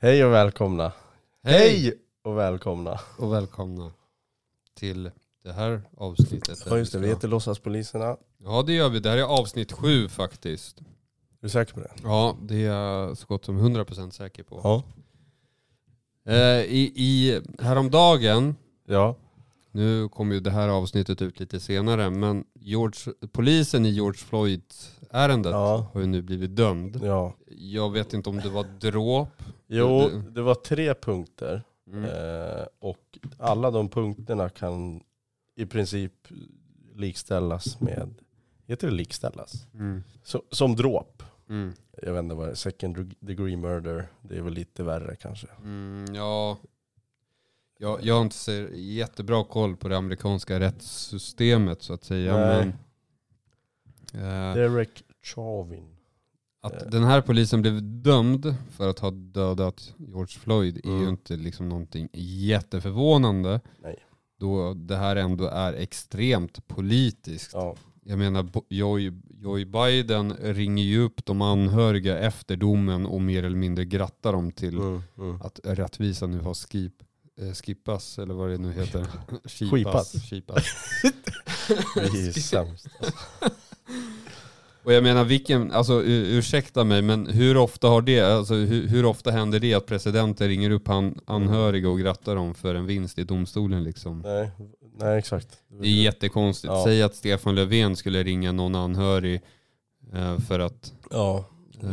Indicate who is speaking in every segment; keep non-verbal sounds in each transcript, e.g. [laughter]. Speaker 1: Hej och välkomna.
Speaker 2: Hej!
Speaker 1: och välkomna.
Speaker 2: Och välkomna till det här avsnittet.
Speaker 1: Ja just det, vi heter Låtsaspoliserna.
Speaker 2: Ja det gör vi. Det här är avsnitt sju faktiskt.
Speaker 1: Är du säker på det?
Speaker 2: Ja det är jag så gott som 100% säker på.
Speaker 1: Ja.
Speaker 2: Eh, i, i, häromdagen,
Speaker 1: Ja.
Speaker 2: nu kommer ju det här avsnittet ut lite senare, men George, polisen i George Floyd-ärendet
Speaker 1: Ja.
Speaker 2: har ju nu blivit dömd.
Speaker 1: ja.
Speaker 2: Jag vet inte om det var dråp.
Speaker 1: Jo,
Speaker 2: Det-
Speaker 1: det var tre punkter.
Speaker 2: Mm.
Speaker 1: Eh, och alla de punkterna kan i princip likställas med, heter det likställas?
Speaker 2: Mm.
Speaker 1: Så, som dråp.
Speaker 2: Mm.
Speaker 1: Jag vet inte vad det är, second degree murder. Det är väl lite värre kanske.
Speaker 2: Mm, ja. Jag, jag har inte så jättebra koll på det amerikanska rättssystemet så att säga.
Speaker 1: Nej.
Speaker 2: Men, eh,
Speaker 1: Derek Chauvin.
Speaker 2: att den här polisen blev dömd för att ha dödat George Floyd är
Speaker 1: Mm.
Speaker 2: ju inte liksom någonting jätteförvånande.
Speaker 1: Nej.
Speaker 2: Då det här ändå är extremt politiskt.
Speaker 1: Ja,
Speaker 2: Jag menar, Bo- Joe, Joe Biden ringer ju upp de anhöriga efter domen och mer eller mindre grattar dem till
Speaker 1: mm, mm.
Speaker 2: att rättvisa nu har skip, eh, skippas, eller vad det
Speaker 1: [laughs]
Speaker 2: nu heter.
Speaker 1: Skipas.
Speaker 2: Skipas.
Speaker 1: Vi [laughs] är sämst.
Speaker 2: Och jag menar vilken, alltså u- ursäkta mig, men hur ofta har det, alltså hur, hur ofta händer det att presidenter ringer upp han, anhöriga och grattar dem för en vinst i domstolen liksom?
Speaker 1: Nej, nej exakt.
Speaker 2: Det är jättekonstigt.
Speaker 1: Ja.
Speaker 2: Säg att Stefan Löfven skulle ringa någon anhörig eh, för att
Speaker 1: Ja,
Speaker 2: eh,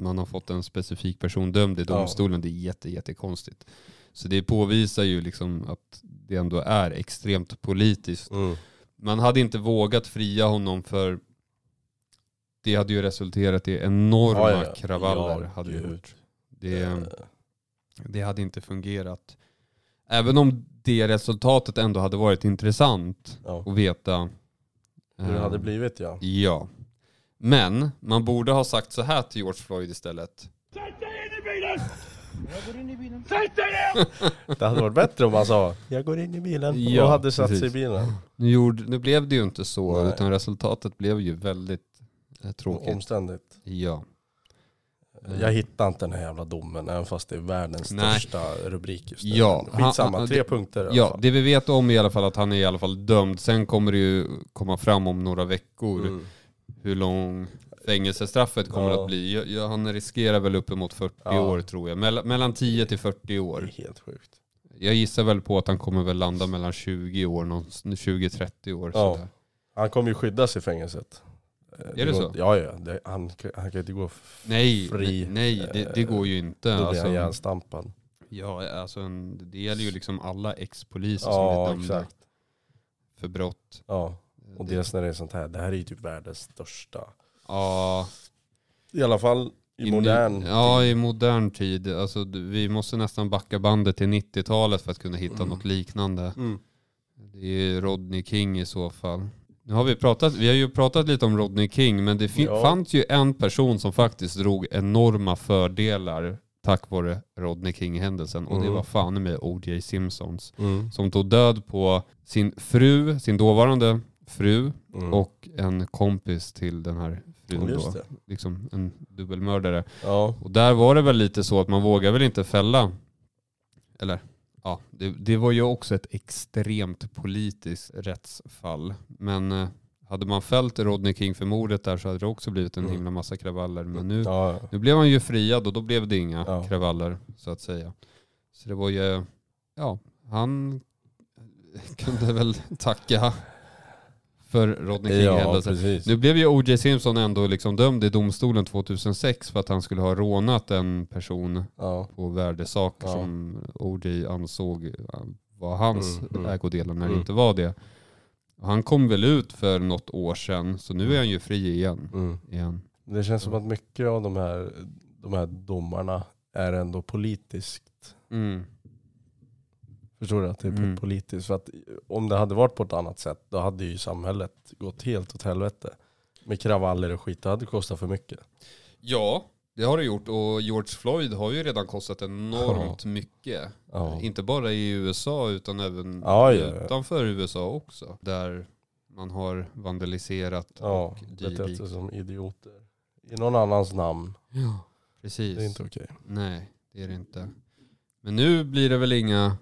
Speaker 2: man har fått en specifik person dömd i
Speaker 1: Ja.
Speaker 2: domstolen. Det är jätte, jättekonstigt. Så det påvisar ju liksom att det ändå är extremt politiskt
Speaker 1: mm.
Speaker 2: man hade inte vågat fria honom för det hade ju resulterat i enorma
Speaker 1: Ja, ja, ja.
Speaker 2: kravaller.
Speaker 1: Ja,
Speaker 2: hade
Speaker 1: gud.
Speaker 2: det, gjort.
Speaker 1: Eh,
Speaker 2: Det, det hade inte fungerat. Även om det resultatet ändå hade varit intressant
Speaker 1: ja.
Speaker 2: att veta.
Speaker 1: Hur det
Speaker 2: eh,
Speaker 1: hade blivit ja.
Speaker 2: Ja. Men man borde ha sagt så här till George Floyd istället.
Speaker 1: Det hade varit bättre om man sa jag går in i bilen
Speaker 2: Ja,
Speaker 1: och hade satt sig i
Speaker 2: precis.
Speaker 1: bilen.
Speaker 2: Nu, gjorde, nu blev det ju inte så,
Speaker 1: Nej.
Speaker 2: utan resultatet blev ju väldigt eh, [laughs] tråkigt.
Speaker 1: Omständigt.
Speaker 2: Ja.
Speaker 1: Jag hittar inte den här jävla domen även fast det är världens
Speaker 2: Nej.
Speaker 1: största rubrik just nu.
Speaker 2: Ja, han-
Speaker 1: Skitsamma,
Speaker 2: han-
Speaker 1: tre punkter i alla
Speaker 2: Ja,
Speaker 1: fall.
Speaker 2: det vi vet om är i alla fall att han är i alla fall dömd. Sen kommer det ju komma fram om några veckor
Speaker 1: Mm.
Speaker 2: hur lång fängelsestraffet kommer
Speaker 1: Ja.
Speaker 2: att bli. Ja, Ja, han riskerar väl uppemot 40
Speaker 1: Ja.
Speaker 2: år tror jag. Mell mellan 10 till 40
Speaker 1: Det är
Speaker 2: år.
Speaker 1: helt sjukt.
Speaker 2: Jag gissar väl på att han kommer väl landa mellan 20 år, någon- 20-30 år.
Speaker 1: Ja.
Speaker 2: Sådär.
Speaker 1: Han kommer ju skyddas i fängelset. Eh,
Speaker 2: det
Speaker 1: går
Speaker 2: så?
Speaker 1: inte- Ja, ja. Det, han, han kan ju inte gå f-
Speaker 2: Nej,
Speaker 1: fri.
Speaker 2: nej, nej det, det går ju inte.
Speaker 1: Då blir
Speaker 2: Alltså,
Speaker 1: han ihjälstampad.
Speaker 2: ja, alltså en, det gäller ju liksom alla ex-poliser som
Speaker 1: Ja,
Speaker 2: blir dömda
Speaker 1: exakt.
Speaker 2: för brott.
Speaker 1: Ja. Och dels när det är sånt här. Det här är ju typ världens största.
Speaker 2: Ja,
Speaker 1: I alla fall i
Speaker 2: nu-
Speaker 1: modern
Speaker 2: Ja, i modern tid. Alltså, d- vi måste nästan backa bandet till 90-talet för att kunna hitta
Speaker 1: Mm.
Speaker 2: något liknande.
Speaker 1: Mm.
Speaker 2: Det är Rodney King i så fall. Nu har vi, pratat, vi har ju pratat lite om Rodney King, men det fin-
Speaker 1: Ja.
Speaker 2: fanns ju en person som faktiskt drog enorma fördelar tack vare Rodney King-händelsen. Och det
Speaker 1: Mm.
Speaker 2: var fan med O.J. Simpsons.
Speaker 1: Mm.
Speaker 2: Som tog död på sin fru, sin dåvarande fru,
Speaker 1: Mm.
Speaker 2: och en kompis till den här frun
Speaker 1: Just
Speaker 2: då.
Speaker 1: det.
Speaker 2: Liksom en dubbelmördare.
Speaker 1: Ja.
Speaker 2: Och där var det väl lite så att man vågar väl inte fälla. Eller ja, det, det var ju också ett extremt politiskt rättsfall. Men eh, hade man fällt Rodney King för mordet där så hade det också blivit en
Speaker 1: Mm.
Speaker 2: himla massa kravaller. Men nu,
Speaker 1: Ja, ja.
Speaker 2: nu blev han ju friad och då blev det inga
Speaker 1: Ja.
Speaker 2: kravaller så att säga. Så det var ju, ja, han kunde väl tacka för Rodney
Speaker 1: ja
Speaker 2: King-händelsen.
Speaker 1: precis.
Speaker 2: Nu blev ju O.J. Simpson ändå liksom dömd i domstolen 2006 för att han skulle ha rånat en person
Speaker 1: Ja.
Speaker 2: på värdesaker
Speaker 1: Ja.
Speaker 2: som O.J. ansåg eh, var hans
Speaker 1: Mm, mm.
Speaker 2: ägodelar när
Speaker 1: Mm.
Speaker 2: det inte var det. Han kom väl ut för något år sedan, så nu är han ju fri igen.
Speaker 1: Mm.
Speaker 2: igen.
Speaker 1: Det känns som att mycket av de här, de här domarna är ändå politiskt.
Speaker 2: Mm.
Speaker 1: Förstår du? Att det är
Speaker 2: Mm.
Speaker 1: politiskt. För att om det hade varit på ett annat sätt då hade ju samhället gått helt åt helvete. Med kravaller och skit. Det hade kostat för mycket.
Speaker 2: Ja, det har det gjort och George Floyd har ju redan kostat enormt mycket.
Speaker 1: Ja.
Speaker 2: Inte bara i USA utan även
Speaker 1: Ja, ja, ja.
Speaker 2: utanför USA också. Där man har vandaliserat
Speaker 1: Ja,
Speaker 2: och
Speaker 1: betett
Speaker 2: dylikt.
Speaker 1: sig som idioter. I någon annans namn.
Speaker 2: Ja,
Speaker 1: Det är
Speaker 2: precis.
Speaker 1: inte okej.
Speaker 2: Nej, Det är det inte. Men nu blir det väl inga,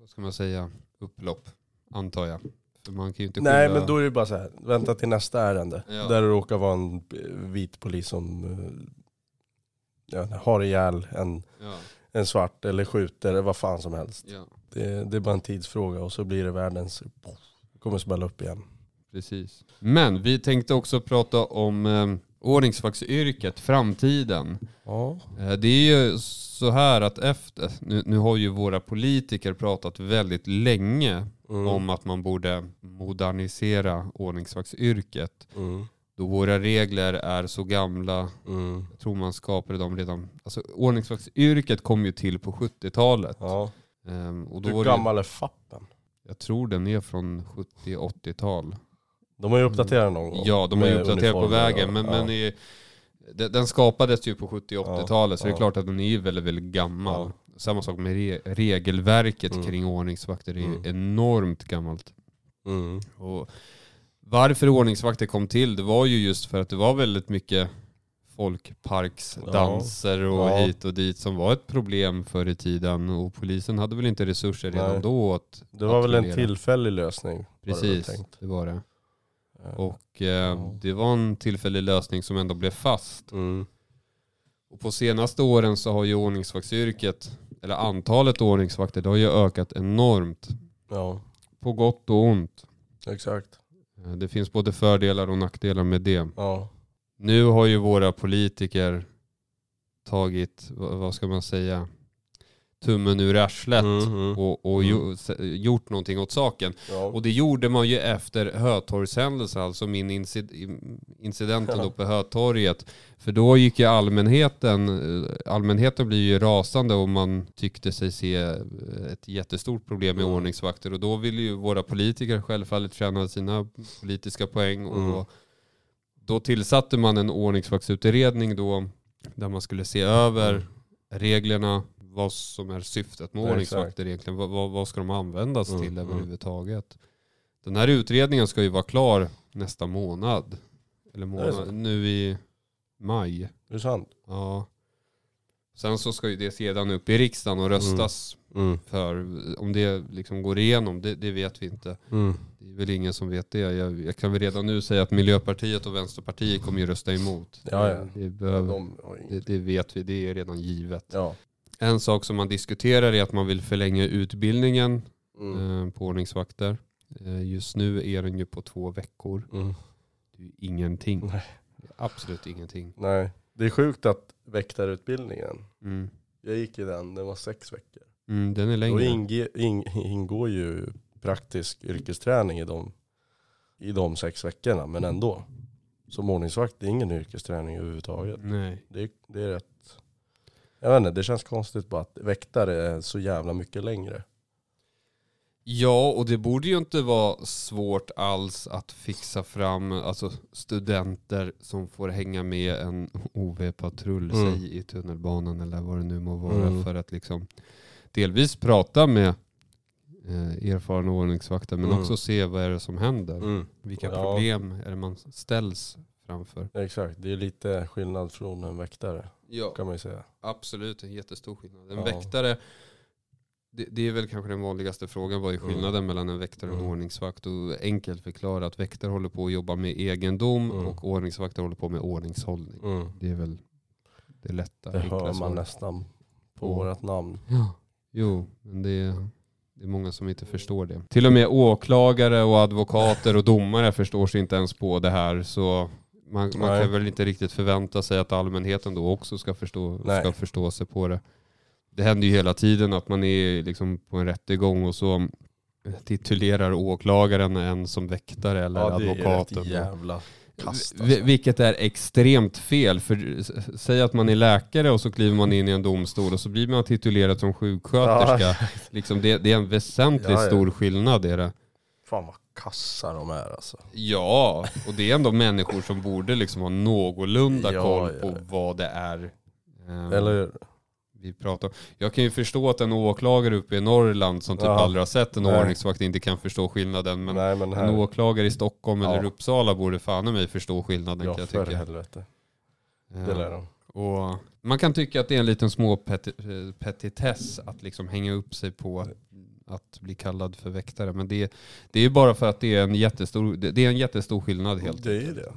Speaker 2: vad ska man säga, upplopp, antar jag. För man kan ju inte
Speaker 1: Nej
Speaker 2: skylla-
Speaker 1: men då är det bara så här, vänta till nästa ärende.
Speaker 2: Ja.
Speaker 1: Där det råkar vara en eh, vit polis som eh, ja, har ihjäl en,
Speaker 2: Ja,
Speaker 1: en svart eller skjuter eller vad fan som helst.
Speaker 2: ja,
Speaker 1: Det, det är bara en tidsfråga och så blir det världens... Kommer smälla upp igen.
Speaker 2: precis. Men vi tänkte också prata om eh, ordningsvaktsyrket, framtiden.
Speaker 1: Ja.
Speaker 2: Eh, Det är ju så här att efter, nu, nu har ju våra politiker pratat väldigt länge
Speaker 1: Mm.
Speaker 2: om att man borde modernisera ordningsvaktsyrket.
Speaker 1: Mm.
Speaker 2: Då våra regler är så gamla,
Speaker 1: Mm.
Speaker 2: jag tror man skapade dem redan, alltså ordningsvaktsyrket kom ju till på 70-talet.
Speaker 1: Ja.
Speaker 2: Ehm, och då
Speaker 1: Hur
Speaker 2: var det,
Speaker 1: gammal är fappen?
Speaker 2: jag tror den är från 70-80-tal.
Speaker 1: De har ju uppdaterat någon gång.
Speaker 2: Ja, de har ju
Speaker 1: Med
Speaker 2: uppdaterat på
Speaker 1: uniformer
Speaker 2: vägen,
Speaker 1: och-
Speaker 2: men,
Speaker 1: ja.
Speaker 2: men i, de- den skapades ju på 70-80-talet, så det är
Speaker 1: ja.
Speaker 2: klart att den är ju väldigt, väldigt gammal. Samma sak med re, regelverket
Speaker 1: Mm.
Speaker 2: kring ordningsvakter, det är ju
Speaker 1: Mm.
Speaker 2: enormt gammalt.
Speaker 1: Mm.
Speaker 2: Och varför ordningsvakter kom till, det var ju just för att det var väldigt mycket folkparksdanser och
Speaker 1: Ja.
Speaker 2: hit och dit som var ett problem förr i tiden och polisen hade väl inte resurser redan
Speaker 1: Nej.
Speaker 2: då att
Speaker 1: Det var väl en
Speaker 2: kontrollera.
Speaker 1: tillfällig lösning. var det väl
Speaker 2: Precis,
Speaker 1: tänkt.
Speaker 2: det var det.
Speaker 1: Ja.
Speaker 2: Och eh, det var en tillfällig lösning som ändå blev fast.
Speaker 1: Mm.
Speaker 2: Och på senaste åren så har ju ordningsvaktsyrket, eller antalet ordningsvakter, det har ju ökat enormt.
Speaker 1: Ja,
Speaker 2: På gott och ont.
Speaker 1: exakt.
Speaker 2: Eh, Det finns både fördelar och nackdelar med det.
Speaker 1: Ja.
Speaker 2: Nu har ju våra politiker tagit, va- vad ska man säga, tummen ur arslet
Speaker 1: Mhm.
Speaker 2: och, och jo, se- gjort någonting åt saken.
Speaker 1: Ja.
Speaker 2: Och det gjorde man ju efter Hötorgshändelsen, alltså min incid
Speaker 1: [laughs]
Speaker 2: incidenten då på Hötorget. För då gick ju allmänheten, eh, allmänheten blir ju rasande och man tyckte sig se eh, ett jättestort problem med
Speaker 1: Mm.
Speaker 2: ordningsvakter. Och då ville ju våra politiker självfallet tjäna sina politiska poäng. Och
Speaker 1: Mm.
Speaker 2: Då tillsatte man en ordningsvaktsutredning då, där man skulle se
Speaker 1: Mm.
Speaker 2: över reglerna, vad som är syftet med
Speaker 1: Ja,
Speaker 2: ordningsvakter egentligen. Vad, vad, vad ska de användas
Speaker 1: Mm,
Speaker 2: till
Speaker 1: mm.
Speaker 2: överhuvudtaget? Den här utredningen ska ju vara klar nästa månad. Eller
Speaker 1: det så?
Speaker 2: månad, nu i maj.
Speaker 1: Det är sant.
Speaker 2: Ja. Sen så ska ju det sedan upp i riksdagen och röstas
Speaker 1: Mm.
Speaker 2: för. Om det liksom går igenom, det, det vet vi inte.
Speaker 1: Mm.
Speaker 2: Det är väl ingen som vet det. Jag, jag kan väl redan nu säga att Miljöpartiet och Vänsterpartiet kommer ju rösta emot.
Speaker 1: Ja, ja.
Speaker 2: Det, behöver,
Speaker 1: De har inget.
Speaker 2: det, det vet vi, det är redan givet.
Speaker 1: Ja.
Speaker 2: En sak som man diskuterar är att man vill förlänga utbildningen
Speaker 1: Mm.
Speaker 2: eh, på ordningsvakter. Eh, just nu är den ju på två veckor.
Speaker 1: Mm.
Speaker 2: Det är ju ingenting.
Speaker 1: Nej.
Speaker 2: Det är absolut ingenting.
Speaker 1: Nej, det är sjukt att väktarutbildningen,
Speaker 2: Mm.
Speaker 1: jag gick i den, den var sex veckor.
Speaker 2: Mm, den är
Speaker 1: Då
Speaker 2: längre.
Speaker 1: inge, ing, ingår ju praktisk yrkesträning i de, i de sex veckorna, men ändå. Som ordningsvakt, det är ingen yrkesträning överhuvudtaget.
Speaker 2: Nej.
Speaker 1: Det, det är rätt, jag vet inte, det känns konstigt bara att väktare är så jävla mycket längre.
Speaker 2: Ja, och det borde ju inte vara svårt alls att fixa fram alltså, studenter som får hänga med en [laughs] OV-patrull
Speaker 1: Mm.
Speaker 2: säg, i tunnelbanan eller vad det nu må vara
Speaker 1: Mm.
Speaker 2: för att liksom delvis prata med eh, erfarna ordningsvakter men
Speaker 1: Mm.
Speaker 2: också se vad är det som händer. Vilka
Speaker 1: Ja.
Speaker 2: problem är det man ställs framför?
Speaker 1: Exakt, det är lite skillnad från en väktare
Speaker 2: Ja,
Speaker 1: kan man ju säga.
Speaker 2: absolut en jättestor skillnad. En
Speaker 1: Ja.
Speaker 2: väktare, det, det är väl kanske den vanligaste frågan, vad är
Speaker 1: Mm.
Speaker 2: skillnaden mellan en väktare och en
Speaker 1: Mm.
Speaker 2: ordningsvakt? Och enkelt förklarat, väktare håller på att jobba med egendom
Speaker 1: Mm.
Speaker 2: och ordningsvakter håller på med ordningshållning. Det är väl det lätta,
Speaker 1: Det hör man
Speaker 2: svaret.
Speaker 1: nästan på
Speaker 2: Mm.
Speaker 1: vårat namn.
Speaker 2: Ja. Jo, men det är, det är många som inte förstår det. Till och med åklagare och advokater och domare förstår sig inte ens på det här. Så man, man
Speaker 1: Nej.
Speaker 2: kan väl inte riktigt förvänta sig att allmänheten då också ska förstå,
Speaker 1: Nej.
Speaker 2: ska förstå sig på det. Det händer ju hela tiden att man är liksom på en rättegång och så titulerar åklagaren en som väktare eller
Speaker 1: Ja, det är
Speaker 2: advokaten.
Speaker 1: rätt jävla kast
Speaker 2: Vi- Vilket är extremt fel. För s- säg att man är läkare och så kliver man in i en domstol och så blir man titulerad som sjuksköterska.
Speaker 1: Ja. [laughs]
Speaker 2: Liksom det, det är en väsentligt
Speaker 1: Ja, ja.
Speaker 2: stor skillnad. Är det.
Speaker 1: Fan vad kassa de är alltså.
Speaker 2: Ja, och det är ändå människor som borde liksom ha någorlunda
Speaker 1: Ja,
Speaker 2: koll
Speaker 1: ja.
Speaker 2: på vad det är. ehm,
Speaker 1: Eller hur?
Speaker 2: vi pratar om. Jag kan ju förstå att en åklagare uppe i Norrland som typ
Speaker 1: Ja.
Speaker 2: aldrig har sett en
Speaker 1: Nej.
Speaker 2: ordningsvakt inte kan förstå skillnaden. Men
Speaker 1: Nej men
Speaker 2: en
Speaker 1: här,
Speaker 2: åklagare i Stockholm
Speaker 1: Ja.
Speaker 2: eller Uppsala borde fan i mig förstå skillnaden
Speaker 1: ja
Speaker 2: kan jag
Speaker 1: för
Speaker 2: tycka.
Speaker 1: helvete.
Speaker 2: Ehm,
Speaker 1: Det lär de.
Speaker 2: Och man kan tycka att det är en liten små peti- eh, petitess att liksom hänga upp sig på att, att bli kallad för väktare. Men det, det är ju bara för att det är en jättestor, det det är en jättestor skillnad helt
Speaker 1: Det är det.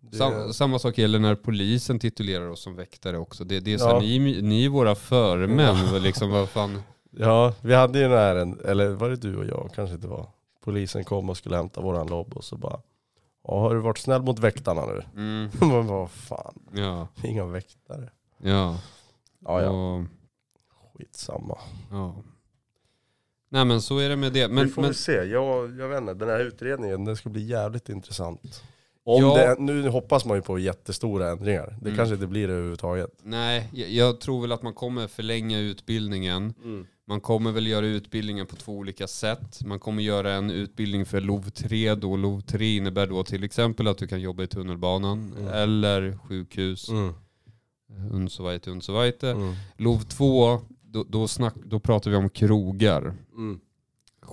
Speaker 1: det
Speaker 2: Sam, samma sak gäller när polisen titulerar oss som väktare också. Det, det är så
Speaker 1: Ja.
Speaker 2: här, ni, ni är våra förmän. och Liksom, vad fan.
Speaker 1: Ja, vi hade ju den här, en- eller var det du och jag? Kanske inte var. Polisen kom och skulle hämta våran lobb och så bara, ja har du varit snäll mot väktarna nu? [laughs]
Speaker 2: Mm,
Speaker 1: Men vad fan,
Speaker 2: ja,
Speaker 1: det är inga väktare.
Speaker 2: ja.
Speaker 1: Ja ja,
Speaker 2: Och,
Speaker 1: skitsamma.
Speaker 2: ja. Nej men så är det med det. Men,
Speaker 1: vi får
Speaker 2: men,
Speaker 1: väl se, jag, jag vet inte, den här utredningen den ska bli jävligt intressant. Om
Speaker 2: Ja.
Speaker 1: det, nu hoppas man ju på jättestora ändringar, det
Speaker 2: Mm.
Speaker 1: kanske inte blir det överhuvudtaget.
Speaker 2: Nej, jag, jag tror väl att man kommer förlänga utbildningen.
Speaker 1: Mm.
Speaker 2: Man kommer väl göra utbildningen på två olika sätt. Man kommer göra en utbildning för LOV 3 då. LOV 3 innebär då till exempel att du kan jobba i tunnelbanan
Speaker 1: Mm.
Speaker 2: eller sjukhus.
Speaker 1: Mm.
Speaker 2: Und so weiter, und so weiter.
Speaker 1: Mm.
Speaker 2: LOV 2, då, då, snack, då pratar vi om krogar.
Speaker 1: Mm.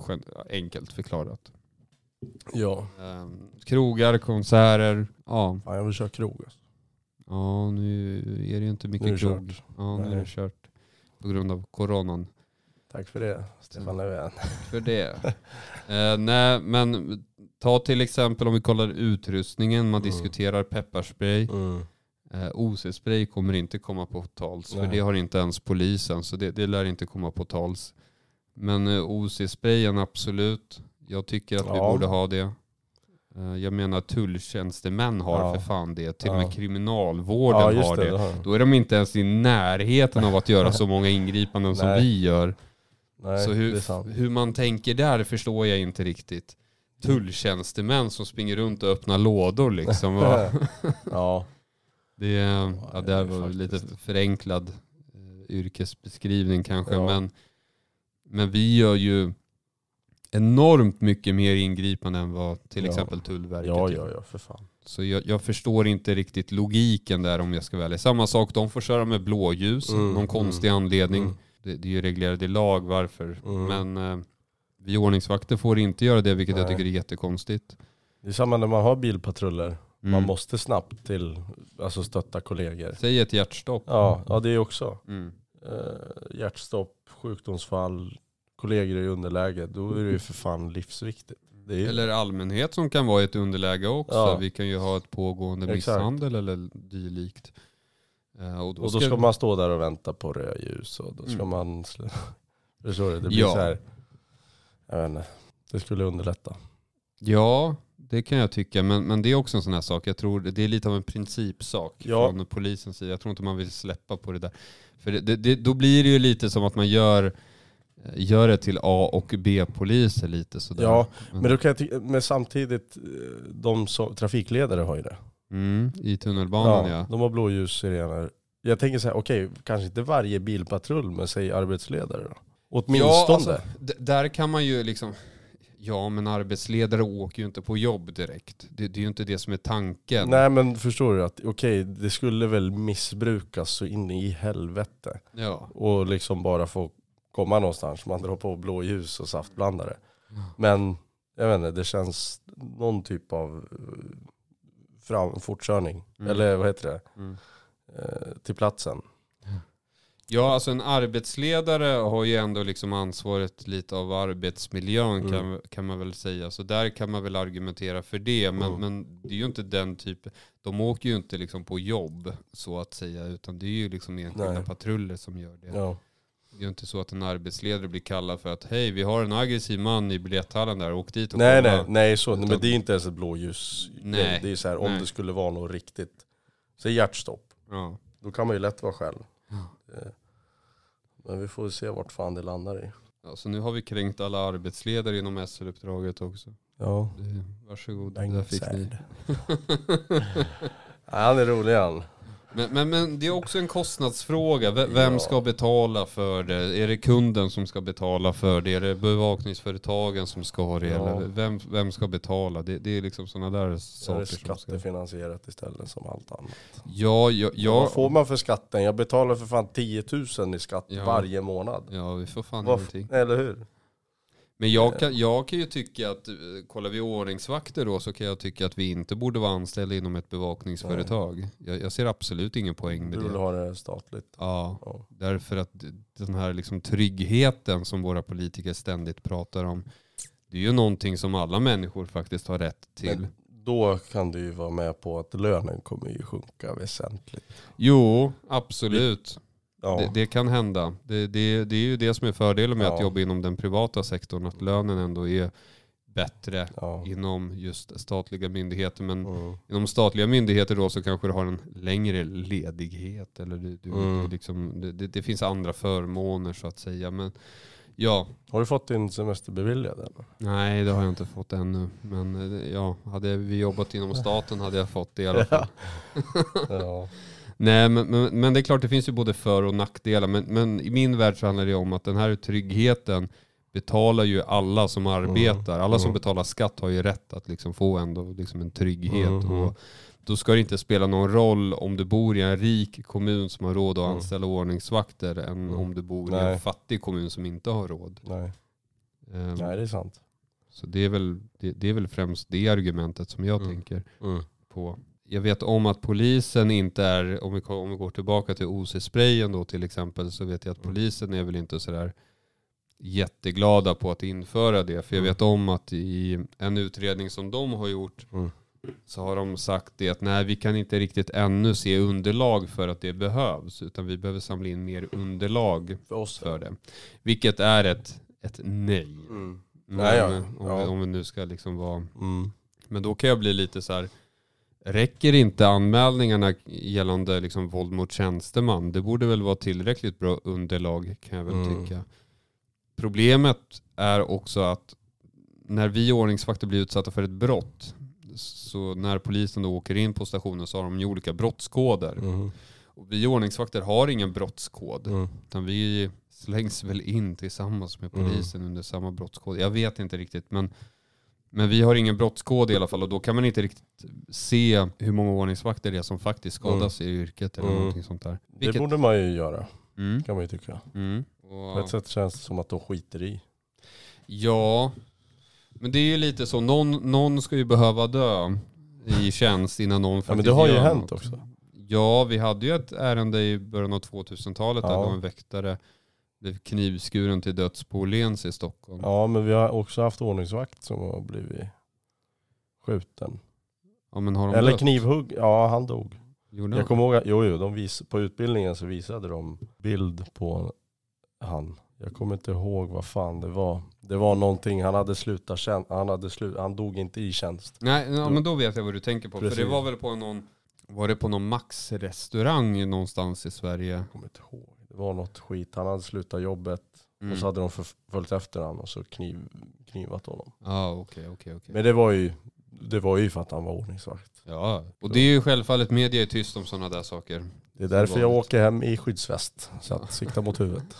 Speaker 2: Gen- Enkelt förklarat.
Speaker 1: Ja,
Speaker 2: Ehm, krogar, konserter. Ja,
Speaker 1: fan jag vill köra krog. alltså.
Speaker 2: ja nu är det ju inte mycket
Speaker 1: Nu är det
Speaker 2: krog.
Speaker 1: kört.
Speaker 2: Ja, nu är
Speaker 1: Nej.
Speaker 2: det kört. På grund av coronan.
Speaker 1: Tack för det,
Speaker 2: Mm.
Speaker 1: Stefan Löfven.
Speaker 2: för det.
Speaker 1: [laughs]
Speaker 2: Eh, nej, men ta till exempel om vi kollar utrustningen. Man
Speaker 1: Mm.
Speaker 2: diskuterar pepparspray.
Speaker 1: Mm.
Speaker 2: Eh, OC-spray kommer inte komma på tals.
Speaker 1: Nej.
Speaker 2: För det har inte ens polisen. Så det, det lär inte komma på tals. Men eh, OC-sprayen absolut. Jag tycker att vi
Speaker 1: Ja.
Speaker 2: borde ha det. Eh, jag menar tulltjänstemän har
Speaker 1: Ja.
Speaker 2: för fan det. Till och
Speaker 1: Ja.
Speaker 2: med kriminalvården har det.
Speaker 1: har jag.
Speaker 2: Då är de inte ens i närheten av att göra så många ingripanden som
Speaker 1: Nej.
Speaker 2: vi gör.
Speaker 1: Nej,
Speaker 2: Så
Speaker 1: det är sant.
Speaker 2: hur, hur man tänker där förstår jag inte riktigt. Tulltjänstemän som springer runt och öppnar lådor
Speaker 1: [laughs]
Speaker 2: liksom. Va?
Speaker 1: ja.
Speaker 2: Det, ja, det här var
Speaker 1: faktiskt.
Speaker 2: lite förenklad eh, yrkesbeskrivning kanske.
Speaker 1: Ja.
Speaker 2: Men, men vi gör ju enormt mycket mer ingripande än vad till
Speaker 1: Ja.
Speaker 2: exempel Tullverket
Speaker 1: ja,
Speaker 2: gör.
Speaker 1: ja, ja, för fan.
Speaker 2: Så jag, jag förstår inte riktigt logiken där om jag ska välja. Samma sak, de får köra med blåljus,
Speaker 1: Mm,
Speaker 2: någon konstig anledning.
Speaker 1: Mm.
Speaker 2: Det, det är ju reglerat i lag varför.
Speaker 1: Mm.
Speaker 2: Men eh, vi ordningsvakter får inte göra det, vilket jag
Speaker 1: Nej.
Speaker 2: tycker är jättekonstigt.
Speaker 1: Det är samma när man har bilpatruller. Man
Speaker 2: Mm.
Speaker 1: måste snabbt till, alltså stötta kollegor.
Speaker 2: Säg ett hjärtstopp.
Speaker 1: Ja, ja det är också.
Speaker 2: Mm.
Speaker 1: Eh, hjärtstopp, sjukdomsfall, kollegor i underläge. Då är det ju för fan livsviktigt. Det är ju,
Speaker 2: Eller allmänhet som kan vara i ett underläge också.
Speaker 1: Ja.
Speaker 2: Vi kan ju ha ett pågående
Speaker 1: Exakt.
Speaker 2: misshandel eller dylikt. Eh, och, då
Speaker 1: och då ska man stå där och vänta på röda ljus och då ska
Speaker 2: Mm.
Speaker 1: man... sl- [laughs] Förstår du? Det blir
Speaker 2: Ja.
Speaker 1: så här. Jag vet inte. Det skulle underlätta.
Speaker 2: Ja, det kan jag tycka. Men, men det är också en sån här sak. Jag tror det det är lite av en principsak
Speaker 1: Ja.
Speaker 2: från polisens sida. Jag tror inte man vill släppa på det där. För det, det, det, då blir det ju lite som att man gör, eh, gör det till A och B-poliser lite sådär.
Speaker 1: Ja, Men, då kan jag ty- men samtidigt, eh, de som, trafikledare har ju det.
Speaker 2: Mm, I tunnelbanan ja.
Speaker 1: De har blåljussirener. Jag tänker så här, okej, kanske inte varje bilpatrull, men säg arbetsledare då. Åtminstone.
Speaker 2: Ja, alltså, d- där kan man ju liksom... Ja, men arbetsledare åker ju inte på jobb direkt. Det, det är ju inte det som är tanken.
Speaker 1: Nej men förstår du att, okej, det skulle väl missbrukas så in i helvete.
Speaker 2: Ja.
Speaker 1: Och liksom bara få komma någonstans, man drar på blåljus och saftblandare. Men, jag vet inte, det känns någon typ av eh, fram, fortkörning.
Speaker 2: Mm.
Speaker 1: Eller vad heter det?
Speaker 2: Mm.
Speaker 1: Eh, till platsen.
Speaker 2: Ja, alltså en arbetsledare har ju ändå liksom ansvaret lite av arbetsmiljön
Speaker 1: Mm.
Speaker 2: kan, kan man väl säga. Så där kan man väl argumentera för det. Men,
Speaker 1: Mm.
Speaker 2: men det är ju inte den typen, de åker ju inte liksom på jobb så att säga. Utan det är ju liksom enskilda
Speaker 1: Nej.
Speaker 2: patruller som gör det.
Speaker 1: Ja.
Speaker 2: Det är ju inte så att en arbetsledare blir kallad för att hej, vi har en aggressiv man i biljetthallen där, åk dit och
Speaker 1: Nej
Speaker 2: kolla."
Speaker 1: nej, nej så, nej, men
Speaker 2: Utan-
Speaker 1: det är inte ens ett blåljus.
Speaker 2: Nej,
Speaker 1: Det är så här, om
Speaker 2: nej.
Speaker 1: det skulle vara något riktigt, säg hjärtstopp.
Speaker 2: Ja.
Speaker 1: Då kan man ju lätt vara själv.
Speaker 2: Ja.
Speaker 1: Eh, Men vi får ju se vart fan det landar i.
Speaker 2: ja. Så nu har vi kränkt alla arbetsledare inom SL-uppdraget också.
Speaker 1: Ja.
Speaker 2: Det- Varsågod,
Speaker 1: Bengt
Speaker 2: där fick ni.
Speaker 1: Särd. [laughs] Han är rolig han.
Speaker 2: Men, men, men det är också en kostnadsfråga. V- Vem
Speaker 1: Ja.
Speaker 2: ska betala för det? Är det kunden som ska betala för det? Är det bevakningsföretagen som ska ha det?
Speaker 1: Ja.
Speaker 2: Eller vem, vem ska betala? Det, det är liksom sådana där
Speaker 1: Så är
Speaker 2: saker.
Speaker 1: det
Speaker 2: som ska-
Speaker 1: skattefinansierat istället som allt annat.
Speaker 2: Ja, ja,
Speaker 1: Vad får
Speaker 2: ja,
Speaker 1: man för skatten? Jag betalar för fan 10 000 i skatt
Speaker 2: Ja.
Speaker 1: varje månad.
Speaker 2: ja, vi får fan
Speaker 1: Vad f-
Speaker 2: ingenting.
Speaker 1: Eller hur?
Speaker 2: Men jag kan, jag kan ju tycka att, eh, kollar vi ordningsvakter då så kan jag tycka att vi inte borde vara anställda inom ett bevakningsföretag. Jag, jag ser absolut ingen poäng med
Speaker 1: Du vill
Speaker 2: det.
Speaker 1: ha det statligt.
Speaker 2: Ja,
Speaker 1: Ja.
Speaker 2: därför att den här liksom tryggheten som våra politiker ständigt pratar om, det är ju någonting som alla människor faktiskt har rätt till.
Speaker 1: Men då kan du ju vara med på att lönen kommer ju sjunka väsentligt.
Speaker 2: Jo, absolut.
Speaker 1: Ja.
Speaker 2: Det, det kan hända. Det, det, det är ju det som är fördelen med att
Speaker 1: Ja.
Speaker 2: jobba inom den privata sektorn, att lönen ändå är bättre
Speaker 1: ja.
Speaker 2: inom just statliga myndigheter. Men
Speaker 1: Mm.
Speaker 2: inom statliga myndigheter då så kanske du har en längre ledighet eller du, du,
Speaker 1: Mm.
Speaker 2: du liksom, det, det- det finns andra förmåner så att säga. Men ja,
Speaker 1: Har du fått din semester beviljad?
Speaker 2: [laughs]
Speaker 1: Eller?
Speaker 2: nej det har jag inte fått ännu. Men eh, ja, hade vi
Speaker 1: [laughs]
Speaker 2: jobbat inom staten hade jag fått det i alla fall.
Speaker 1: Ja.
Speaker 2: Nej, men, men, men det är klart det finns ju både för och nackdelar. Men, men i min värld så handlar det om att den här tryggheten betalar ju alla som arbetar. Alla som
Speaker 1: Mm.
Speaker 2: betalar skatt har ju rätt att liksom få ändå liksom en trygghet.
Speaker 1: Mm, mm.
Speaker 2: Och då ska det inte spela någon roll om du bor i en rik kommun som har råd att
Speaker 1: Mm.
Speaker 2: anställa ordningsvakter än
Speaker 1: Mm.
Speaker 2: om du bor i en
Speaker 1: Nej.
Speaker 2: fattig kommun som inte har råd.
Speaker 1: Nej.
Speaker 2: Ehm,
Speaker 1: Nej, det är sant.
Speaker 2: Så det är, väl, det, det är väl främst det argumentet som jag
Speaker 1: Mm.
Speaker 2: tänker
Speaker 1: Mm.
Speaker 2: på. Jag vet om att polisen inte är, om vi, ko- om vi går tillbaka till OC-sprayen då till exempel, så vet jag att
Speaker 1: Mm.
Speaker 2: polisen är väl inte sådär jätteglada på att införa det. För jag
Speaker 1: Mm.
Speaker 2: vet om att i en utredning som de har gjort
Speaker 1: Mm.
Speaker 2: så har de sagt det att nej, vi kan inte riktigt ännu se underlag för att det behövs, utan vi behöver samla in mer underlag
Speaker 1: För oss.
Speaker 2: för det. Vilket är ett, ett nej.
Speaker 1: Mm.
Speaker 2: Men,
Speaker 1: Nej, ja.
Speaker 2: om, vi,
Speaker 1: Ja.
Speaker 2: om vi nu ska liksom vara
Speaker 1: Mm.
Speaker 2: men då kan jag bli lite så här, räcker inte anmälningarna gällande liksom våld mot tjänsteman? Det borde väl vara tillräckligt bra underlag kan jag väl
Speaker 1: Mm.
Speaker 2: tycka. Problemet är också att när vi ordningsvakter blir utsatta för ett brott, så när polisen då åker in på stationen så har de ju olika brottskoder.
Speaker 1: Mm.
Speaker 2: Och vi ordningsvakter har ingen brottskod.
Speaker 1: Mm.
Speaker 2: Utan vi slängs väl in tillsammans med polisen under samma brottskod. Jag vet inte riktigt men, men vi har ingen brottskod i alla fall och då kan man inte riktigt se hur många ordningsvakter det är som faktiskt skadas i yrket eller
Speaker 1: Mm.
Speaker 2: någonting sånt där.
Speaker 1: Det
Speaker 2: Vilket,
Speaker 1: borde man ju göra,
Speaker 2: mm,
Speaker 1: kan man ju tycka.
Speaker 2: mm,
Speaker 1: På
Speaker 2: och,
Speaker 1: ett sätt känns det som att de skiter i.
Speaker 2: ja, men det är ju lite så. Någon, någon ska ju behöva dö i tjänst innan någon faktiskt
Speaker 1: Ja, men det har ju
Speaker 2: gör
Speaker 1: hänt
Speaker 2: något.
Speaker 1: också.
Speaker 2: Ja, vi hade ju ett ärende i början av 2000-talet där
Speaker 1: Ja.
Speaker 2: det var en väktare blev knivskuren till döds på Åhléns i Stockholm.
Speaker 1: Ja, men vi har också haft ordningsvakt som har blivit skjuten.
Speaker 2: Ja, men har de
Speaker 1: Eller
Speaker 2: dött?
Speaker 1: knivhugg. Ja, han dog.
Speaker 2: Gjorde
Speaker 1: Jag
Speaker 2: de?
Speaker 1: kommer ihåg att, jo, jo de vis, på utbildningen så visade de bild på han. Jag kommer inte ihåg vad fan det var. Det var någonting, han hade slutat tjänst, han, hade slut, han dog inte i tjänst.
Speaker 2: Nej, ja, men då vet jag vad du tänker på. För
Speaker 1: Precis.
Speaker 2: det var väl på någon, var det på någon Max-restaurang någonstans i Sverige?
Speaker 1: Jag kommer inte ihåg. Det var något skit, han hade slutat jobbet
Speaker 2: Mm.
Speaker 1: och så hade de förföljt efter honom och så kniv, knivat honom.
Speaker 2: Ja, okej, okej, okej.
Speaker 1: Men det var ju, det var ju för att han var ordningsvakt.
Speaker 2: Ja, och det är ju självfallet media är tyst om sådana där saker.
Speaker 1: Det är därför jag
Speaker 2: vanligt.
Speaker 1: åker hem i skyddsväst. Så att sikta mot
Speaker 2: [laughs]
Speaker 1: huvudet.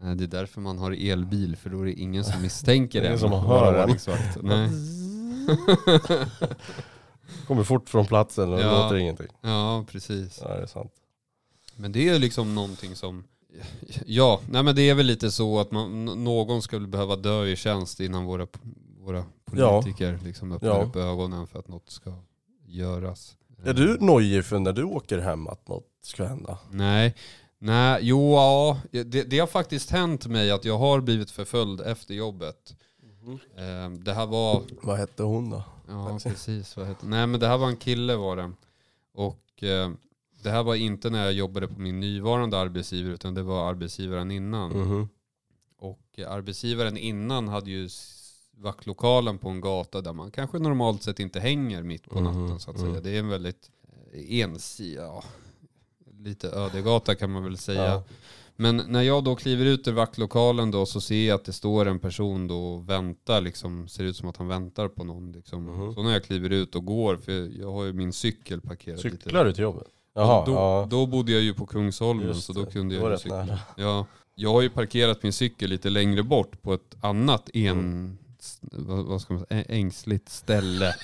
Speaker 2: Nej, det är därför man har elbil, för då är det ingen som misstänker
Speaker 1: Ingen
Speaker 2: en
Speaker 1: som
Speaker 2: att
Speaker 1: hör
Speaker 2: vara
Speaker 1: en.
Speaker 2: ordningsvakt. Nej.
Speaker 1: [laughs] Kommer fort från platsen och det
Speaker 2: Ja.
Speaker 1: låter ingenting.
Speaker 2: Ja, precis.
Speaker 1: Ja, det är sant.
Speaker 2: Men det är ju liksom någonting som, ja, nej men det är väl lite så att man, n- någon skulle behöva dö i tjänst innan våra, våra
Speaker 1: Ja.
Speaker 2: politiker liksom öppnar
Speaker 1: Ja.
Speaker 2: upp ögonen för att något ska göras. Eh,
Speaker 1: Är du nojig för när du åker hem att något ska hända?
Speaker 2: Nej. Nej, jo, ja. Det, det har faktiskt hänt mig att jag har blivit förföljd efter jobbet. Eh, Det här var
Speaker 1: Vad hette hon då?
Speaker 2: Ja, precis. Vad heter. Nej, men det här var en kille var det. Och eh, det här var inte när jag jobbade på min nuvarande arbetsgivare, utan det var arbetsgivaren innan.
Speaker 1: Mm. Mhm.
Speaker 2: Och eh, arbetsgivaren innan hade ju s- vaktlokalen på en gata där man kanske normalt sett inte hänger mitt på
Speaker 1: Mhm,
Speaker 2: natten så att säga.
Speaker 1: mm.
Speaker 2: Det är en väldigt eh, ensidig, ja, lite ödegata kan man väl säga.
Speaker 1: Ja.
Speaker 2: Men när jag då kliver ut ur vaktlokalen då så ser jag att det står en person då och väntar liksom, ser ut som att han väntar på någon liksom.
Speaker 1: Mhm.
Speaker 2: Så när jag kliver ut och går, för jag- jag har ju min cykel parkerad lite.
Speaker 1: Cyklar du till jobbet? Jaha,
Speaker 2: då,
Speaker 1: ja.
Speaker 2: då bodde jag ju på Kungsholmen
Speaker 1: Just
Speaker 2: så då
Speaker 1: det.
Speaker 2: kunde
Speaker 1: Det var
Speaker 2: jag ju
Speaker 1: rätt
Speaker 2: cykla.
Speaker 1: nära.
Speaker 2: Ja, jag har ju parkerat min cykel lite längre bort på ett annat en,
Speaker 1: Mm.
Speaker 2: s- vad, [laughs] vad ska man säga, ä- ängsligt ställe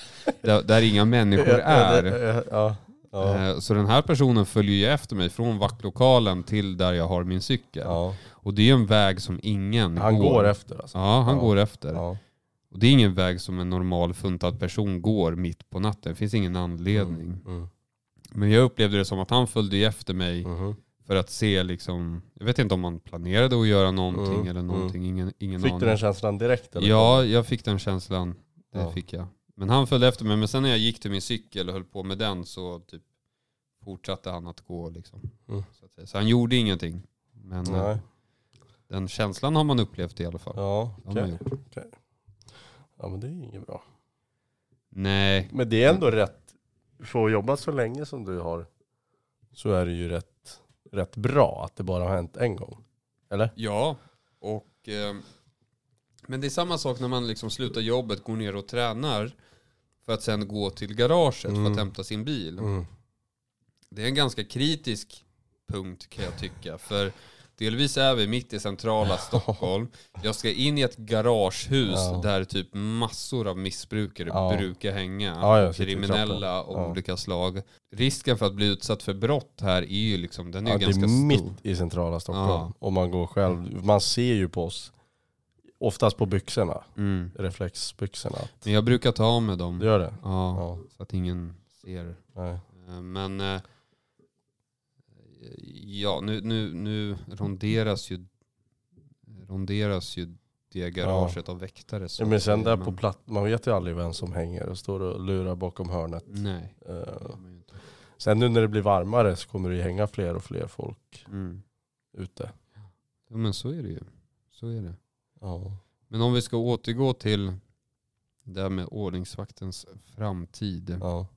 Speaker 2: där, där inga människor
Speaker 1: Ja,
Speaker 2: är.
Speaker 1: det- Ja, Ja.
Speaker 2: Eh, Så den här personen följer ju efter mig från vaktlokalen till där jag har min cykel.
Speaker 1: Ja.
Speaker 2: Och det är en väg som ingen
Speaker 1: Han går efter alltså.
Speaker 2: Ja, han
Speaker 1: Ja.
Speaker 2: går efter.
Speaker 1: Ja.
Speaker 2: Och det är ingen väg som en normal funtad person går mitt på natten. Det finns ingen anledning.
Speaker 1: Mm.
Speaker 2: Men jag upplevde det som att han följde ju efter mig
Speaker 1: Mhm.
Speaker 2: för att se liksom, jag vet inte om han planerade att göra någonting
Speaker 1: Mm,
Speaker 2: eller någonting. Ingen, ingen
Speaker 1: Fick du
Speaker 2: aning.
Speaker 1: den känslan direkt? Eller?
Speaker 2: Ja, jag fick den känslan. Det
Speaker 1: Ja.
Speaker 2: fick jag. Men han följde efter mig. Men sen när jag gick till min cykel och höll på med den så typ fortsatte han att gå. Liksom,
Speaker 1: Mm.
Speaker 2: så, att säga. så han gjorde ingenting. Men eh,
Speaker 1: Nej.
Speaker 2: den känslan har man upplevt i alla fall.
Speaker 1: Ja,
Speaker 2: Det har man
Speaker 1: okej.
Speaker 2: gjort.
Speaker 1: ja, men det är ju inget bra.
Speaker 2: Nej,
Speaker 1: Men det är ändå rätt, för att jobba så länge som du har så är det ju rätt, rätt bra att det bara har hänt en gång. Eller?
Speaker 2: Ja, och, eh, men det är samma sak när man liksom slutar jobbet, går ner och tränar för att sen gå till garaget för
Speaker 1: Mm.
Speaker 2: att hämta sin bil. Det är en ganska kritisk punkt kan jag tycka. För delvis är vi mitt
Speaker 1: [laughs]
Speaker 2: i centrala Stockholm. Jag ska in i ett garagehus
Speaker 1: Ja.
Speaker 2: där typ massor av missbrukare
Speaker 1: Ja.
Speaker 2: brukar hänga.
Speaker 1: Ja, jag sitter i
Speaker 2: kriminella
Speaker 1: trappan.
Speaker 2: av
Speaker 1: Ja.
Speaker 2: olika slag. Risken för att bli utsatt för brott här är ju liksom, den är
Speaker 1: Ja,
Speaker 2: ju
Speaker 1: det
Speaker 2: ganska
Speaker 1: är
Speaker 2: stor.
Speaker 1: mitt i centrala Stockholm. Och man går själv. Man ser ju på oss, oftast på byxorna,
Speaker 2: Mm.
Speaker 1: reflexbyxorna. att-
Speaker 2: Men jag brukar ta av mig dem.
Speaker 1: Du gör det?
Speaker 2: Ja.
Speaker 1: Ja.
Speaker 2: Så att ingen ser.
Speaker 1: Nej.
Speaker 2: Eh, Men eh, ja, nu, nu, nu ronderas ju ronderas ju det garaget av väktare. så
Speaker 1: Ja, men
Speaker 2: att
Speaker 1: sen
Speaker 2: säga,
Speaker 1: där på
Speaker 2: men-
Speaker 1: platt, man vet ju aldrig vem som hänger och står och lurar bakom hörnet.
Speaker 2: Nej. det
Speaker 1: Eh,
Speaker 2: gör man ju inte.
Speaker 1: sen nu när det blir varmare så kommer det ju hänga fler och fler folk
Speaker 2: Mm.
Speaker 1: ute.
Speaker 2: Ja, men så är det ju. Så är det.
Speaker 1: Ja.
Speaker 2: Men om vi ska återgå till det här med ordningsvaktens framtid
Speaker 1: Ja.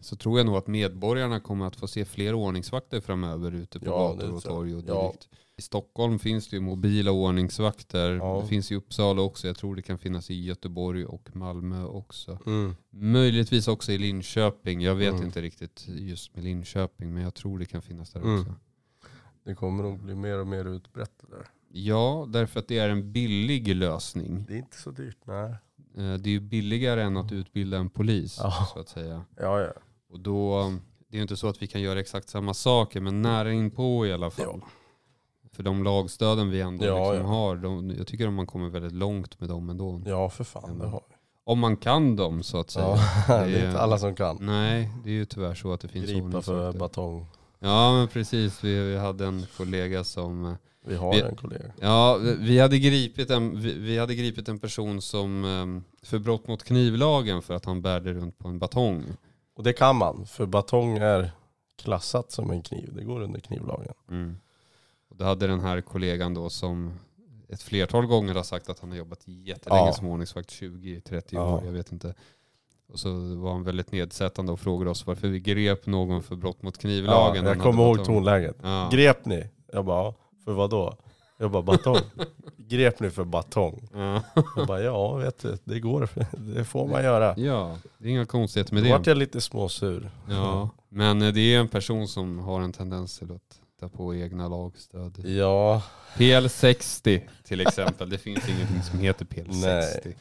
Speaker 2: så tror jag nog att medborgarna kommer att få se fler ordningsvakter framöver ute på
Speaker 1: Ja, det
Speaker 2: gator
Speaker 1: tror
Speaker 2: och
Speaker 1: jag.
Speaker 2: torg och
Speaker 1: Ja.
Speaker 2: direkt. I Stockholm finns det ju mobila ordningsvakter.
Speaker 1: Ja.
Speaker 2: Det finns i Uppsala också. Jag tror det kan finnas i Göteborg och Malmö också.
Speaker 1: Mm.
Speaker 2: Möjligtvis också i Linköping. Jag vet
Speaker 1: Mm.
Speaker 2: inte riktigt just med Linköping men jag tror det kan finnas där
Speaker 1: Mm.
Speaker 2: också.
Speaker 1: Det kommer nog bli mer och mer utbrett det där.
Speaker 2: Ja, därför att det är en billig lösning.
Speaker 1: Det är inte så dyrt. Nej.
Speaker 2: Eh, Det är ju billigare än att utbilda en polis
Speaker 1: Ja.
Speaker 2: så att säga.
Speaker 1: Ja, ja.
Speaker 2: Och då, det är ju inte så att vi kan göra exakt samma saker, men nära inpå i alla fall. För de lagstöden vi ändå
Speaker 1: Ja,
Speaker 2: liksom
Speaker 1: ja.
Speaker 2: har, de, jag tycker att man kommer väldigt långt med dem ändå.
Speaker 1: ja, för fan. Det har vi.
Speaker 2: Om man kan dem så att säga.
Speaker 1: Ja, [laughs] det är inte alla som kan.
Speaker 2: Nej, det är ju tyvärr så att det finns
Speaker 1: Gripa för
Speaker 2: ordningsvakter.
Speaker 1: batong.
Speaker 2: Ja, men precis. Vi, vi hade en kollega som... eh,
Speaker 1: Vi har
Speaker 2: Vi-
Speaker 1: en kollega.
Speaker 2: Ja, vi- vi hade gripit en, vi, vi hade gripit en person som eh, för brott mot knivlagen för att han bärde runt på en batong.
Speaker 1: Och det kan man, för batong är klassat som en kniv. Det går under knivlagen.
Speaker 2: Mm. Och då hade den här kollegan då som ett flertal gånger har sagt att han har jobbat jättelänge
Speaker 1: Ja.
Speaker 2: som ordningsvakt, 20-30
Speaker 1: Ja.
Speaker 2: år, jag vet inte. Och så var han väldigt nedsättande och frågade oss varför vi grep någon för brott mot knivlagen.
Speaker 1: Ja,
Speaker 2: Han
Speaker 1: jag
Speaker 2: hade
Speaker 1: kommer ihåg
Speaker 2: varit-
Speaker 1: tonläget.
Speaker 2: Ja.
Speaker 1: Grep ni? Jag bara, ja. För vad då? Jag bara, batong. [laughs] Grep ni för batong?
Speaker 2: Ja.
Speaker 1: Jag bara, ja vet du, det går. [laughs] Det får man göra.
Speaker 2: ja, det är inga konstigheter med
Speaker 1: Då vart
Speaker 2: det.
Speaker 1: jag lite småsur.
Speaker 2: Ja. Men eh, det är en person som har en tendens till att ta på egna lagstöd.
Speaker 1: Ja,
Speaker 2: PL60 till exempel, det finns ingenting som heter PL60.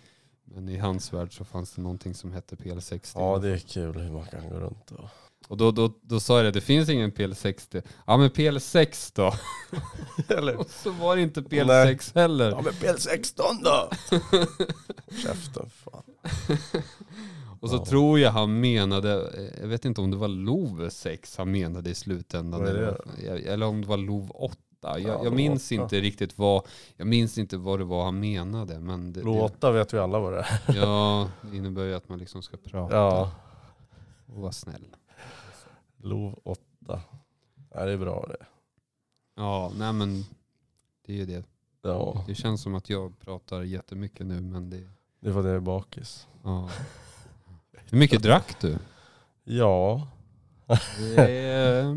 Speaker 2: Men i hans värld så fanns det någonting som hette PL60.
Speaker 1: ja det är kul hur man kan gå runt och...
Speaker 2: Och då, då, då sa jag det, det finns ingen PL60. Ja men PL6 då.
Speaker 1: [laughs]
Speaker 2: [laughs]
Speaker 1: Eller?
Speaker 2: Och så var det inte PL6 heller.
Speaker 1: Ja men PL16 då! [laughs] Käften fan.
Speaker 2: [laughs] Och så
Speaker 1: Ja.
Speaker 2: tror jag han menade, eh, jag vet inte om det var LOV 6 han menade i slutändan.
Speaker 1: Vad är
Speaker 2: Eller, eh, eller om det var LOV 8. Jag,
Speaker 1: Ja,
Speaker 2: jag minns
Speaker 1: LOV 8.
Speaker 2: inte riktigt vad, jag minns inte vad det var han menade. Men det, det,
Speaker 1: Låta vet vi alla vad det är.
Speaker 2: [laughs] ja, det innebär ju att man liksom ska prata
Speaker 1: Ja,
Speaker 2: och vara snäll.
Speaker 1: LOV 8. Ja, det är bra det.
Speaker 2: Ja, nej men det är ju det.
Speaker 1: Ja,
Speaker 2: Det känns som att jag pratar jättemycket nu men det
Speaker 1: det var det jag är bakis.
Speaker 2: Ja. Hur mycket drack du?
Speaker 1: Ja,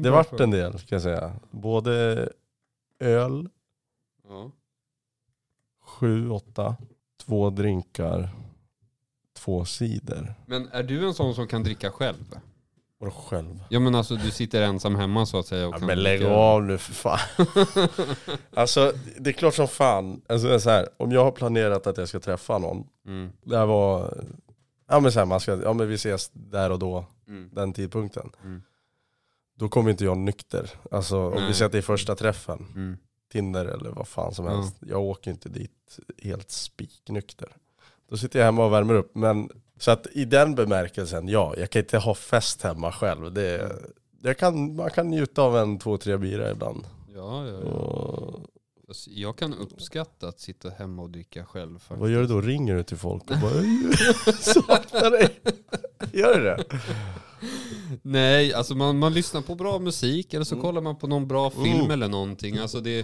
Speaker 1: det vart en del ska jag säga. Både öl,
Speaker 2: Ja.
Speaker 1: sju, åtta, två drinkar, två cider.
Speaker 2: Men är du en sån som kan dricka själv?
Speaker 1: Och själv.
Speaker 2: Ja men alltså du sitter ensam hemma så att säga. Och
Speaker 1: Ja,
Speaker 2: kan
Speaker 1: men lägg
Speaker 2: dricka.
Speaker 1: av nu för fan. Alltså det är klart som fan. Alltså, så här, om jag har planerat att jag ska träffa någon
Speaker 2: [laughs] Mm.
Speaker 1: Det här var, ja men så här, man ska, ja men vi ses där och då,
Speaker 2: Mm.
Speaker 1: den tidpunkten.
Speaker 2: Mm.
Speaker 1: då kommer inte jag nykter. Alltså om
Speaker 2: Nej.
Speaker 1: vi säger att det är första träffen,
Speaker 2: Mm.
Speaker 1: Tinder eller vad fan som
Speaker 2: Ja.
Speaker 1: helst. Jag åker inte dit helt spiknykter. Då sitter jag hemma och värmer upp. Men, så att i den bemärkelsen, ja, jag kan inte ha fest hemma själv. Det, jag kan, man kan njuta av en, två, tre bira ibland.
Speaker 2: Ja, ja, ja.
Speaker 1: Och,
Speaker 2: Fast Jag kan uppskatta att sitta hemma och dricka själv. faktiskt.
Speaker 1: vad gör du då? Ringer du till folk och bara saknar dig? Gör du det?
Speaker 2: Nej, alltså man, man lyssnar på bra musik eller så
Speaker 1: Mm.
Speaker 2: kollar man på någon bra film
Speaker 1: Mm.
Speaker 2: eller någonting. Alltså det,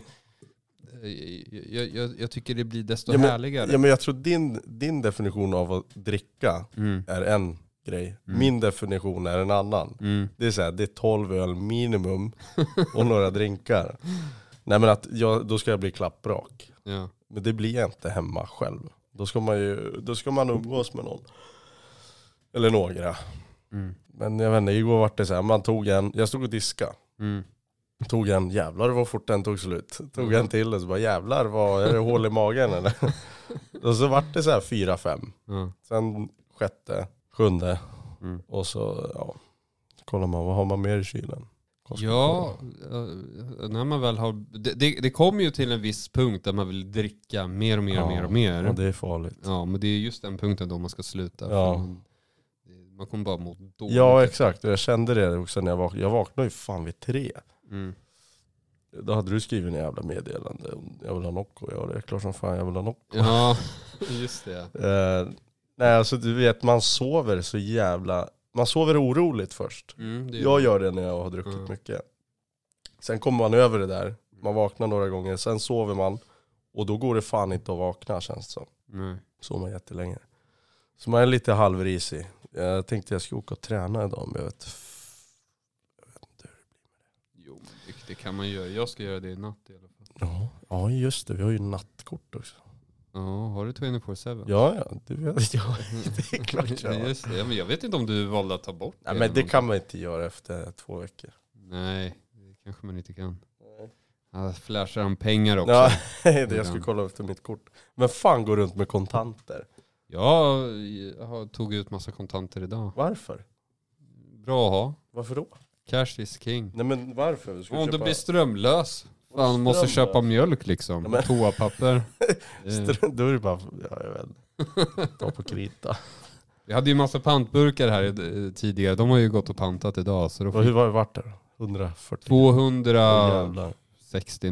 Speaker 2: eh, jag, jag, jag tycker det blir desto
Speaker 1: Ja, men-
Speaker 2: härligare.
Speaker 1: Ja, men jag tror din, din definition av att dricka
Speaker 2: Mm.
Speaker 1: är en grej.
Speaker 2: Mm.
Speaker 1: Min definition är en annan.
Speaker 2: Mm.
Speaker 1: Det är så här, det är 12 öl
Speaker 2: [laughs]
Speaker 1: minimum och några drinkar. Nej men att jag, då ska jag bli klapprak.
Speaker 2: Ja.
Speaker 1: Men det blir jag inte hemma själv. Då ska man ju, då ska man umgås med någon. Eller några.
Speaker 2: Mm.
Speaker 1: Men jag vet inte, igår var det så här, man tog en, jag stod och diska.
Speaker 2: Mm.
Speaker 1: Tog en, jävlar vad fort den tog slut. Tog en till och så bara jävlar vad, är det hål i magen eller? och så vart det så här fyra, fem.
Speaker 2: Ja.
Speaker 1: Sen sjätte, sjunde
Speaker 2: Mm.
Speaker 1: och så ja, kollar man vad har man mer i kylen. Coca-Cola.
Speaker 2: Ja, eh, när man väl har... Det, det, det kommer ju till en viss punkt där man vill dricka mer och mer och
Speaker 1: Ja,
Speaker 2: mer och mer.
Speaker 1: ja, det är farligt.
Speaker 2: Ja, men det är just den punkten då man ska sluta. för
Speaker 1: Ja.
Speaker 2: Man, man kommer bara må dåligt.
Speaker 1: Ja exakt, och jag kände det också när jag vaknade. Jag vaknade ju fan vid tre.
Speaker 2: Mm.
Speaker 1: Då hade du skrivit en jävla meddelande. om Jag vill ha Nocco. Ja det är klart som fan jag vill ha Nocco.
Speaker 2: Ja, [laughs] just det.
Speaker 1: Eh, nej alltså du vet man sover så jävla, man sover oroligt först.
Speaker 2: Mm, det
Speaker 1: Jag gör det när jag har druckit
Speaker 2: Mm.
Speaker 1: mycket. Sen kommer man över det där, man vaknar några gånger, sen sover man. Och då går det fan inte att vakna känns det som.
Speaker 2: Nej.
Speaker 1: Sov man jättelänge. Så man är lite halvrisig. Jag tänkte jag skulle åka och träna idag men jag vet, jag vet inte hur
Speaker 2: Jo, men det, det kan man göra. Jag ska göra det i natt i alla fall.
Speaker 1: Ja, ja just det. Vi har ju nattkort också.
Speaker 2: Ja, har du 24-7?
Speaker 1: Ja, ja. Du vet, [laughs] ja det är klart
Speaker 2: [laughs]
Speaker 1: jag
Speaker 2: Ja,
Speaker 1: har.
Speaker 2: just det. Ja, men jag vet inte om du valde att ta bort
Speaker 1: Nej,
Speaker 2: det
Speaker 1: men
Speaker 2: eller
Speaker 1: det
Speaker 2: någonting.
Speaker 1: kan man inte göra efter två veckor.
Speaker 2: Nej, det kanske man inte kan. Ja, flashar han pengar också?
Speaker 1: Ja, [laughs] det jag skulle kolla efter mitt kort. Men fan går runt med kontanter?
Speaker 2: Jag, jag har- tog ut massa kontanter idag.
Speaker 1: Varför?
Speaker 2: Bra att ha.
Speaker 1: Varför då?
Speaker 2: Cash is king.
Speaker 1: Nej men varför? Du ska
Speaker 2: Om du
Speaker 1: köpa...
Speaker 2: blir strömlös. Fan, måste
Speaker 1: Strömlös.
Speaker 2: köpa mjölk liksom.
Speaker 1: Ja, men- [laughs]
Speaker 2: Toapapper. Eh,
Speaker 1: Str- Då är det bara, ja, jag vet inte. Ta på
Speaker 2: [laughs]
Speaker 1: krita.
Speaker 2: Vi hade ju massa pantburkar här eh, tidigare. De har ju gått och pantat idag. Så då
Speaker 1: Och
Speaker 2: får
Speaker 1: hur var det vart det då? 140?
Speaker 2: 260
Speaker 1: Jävlar.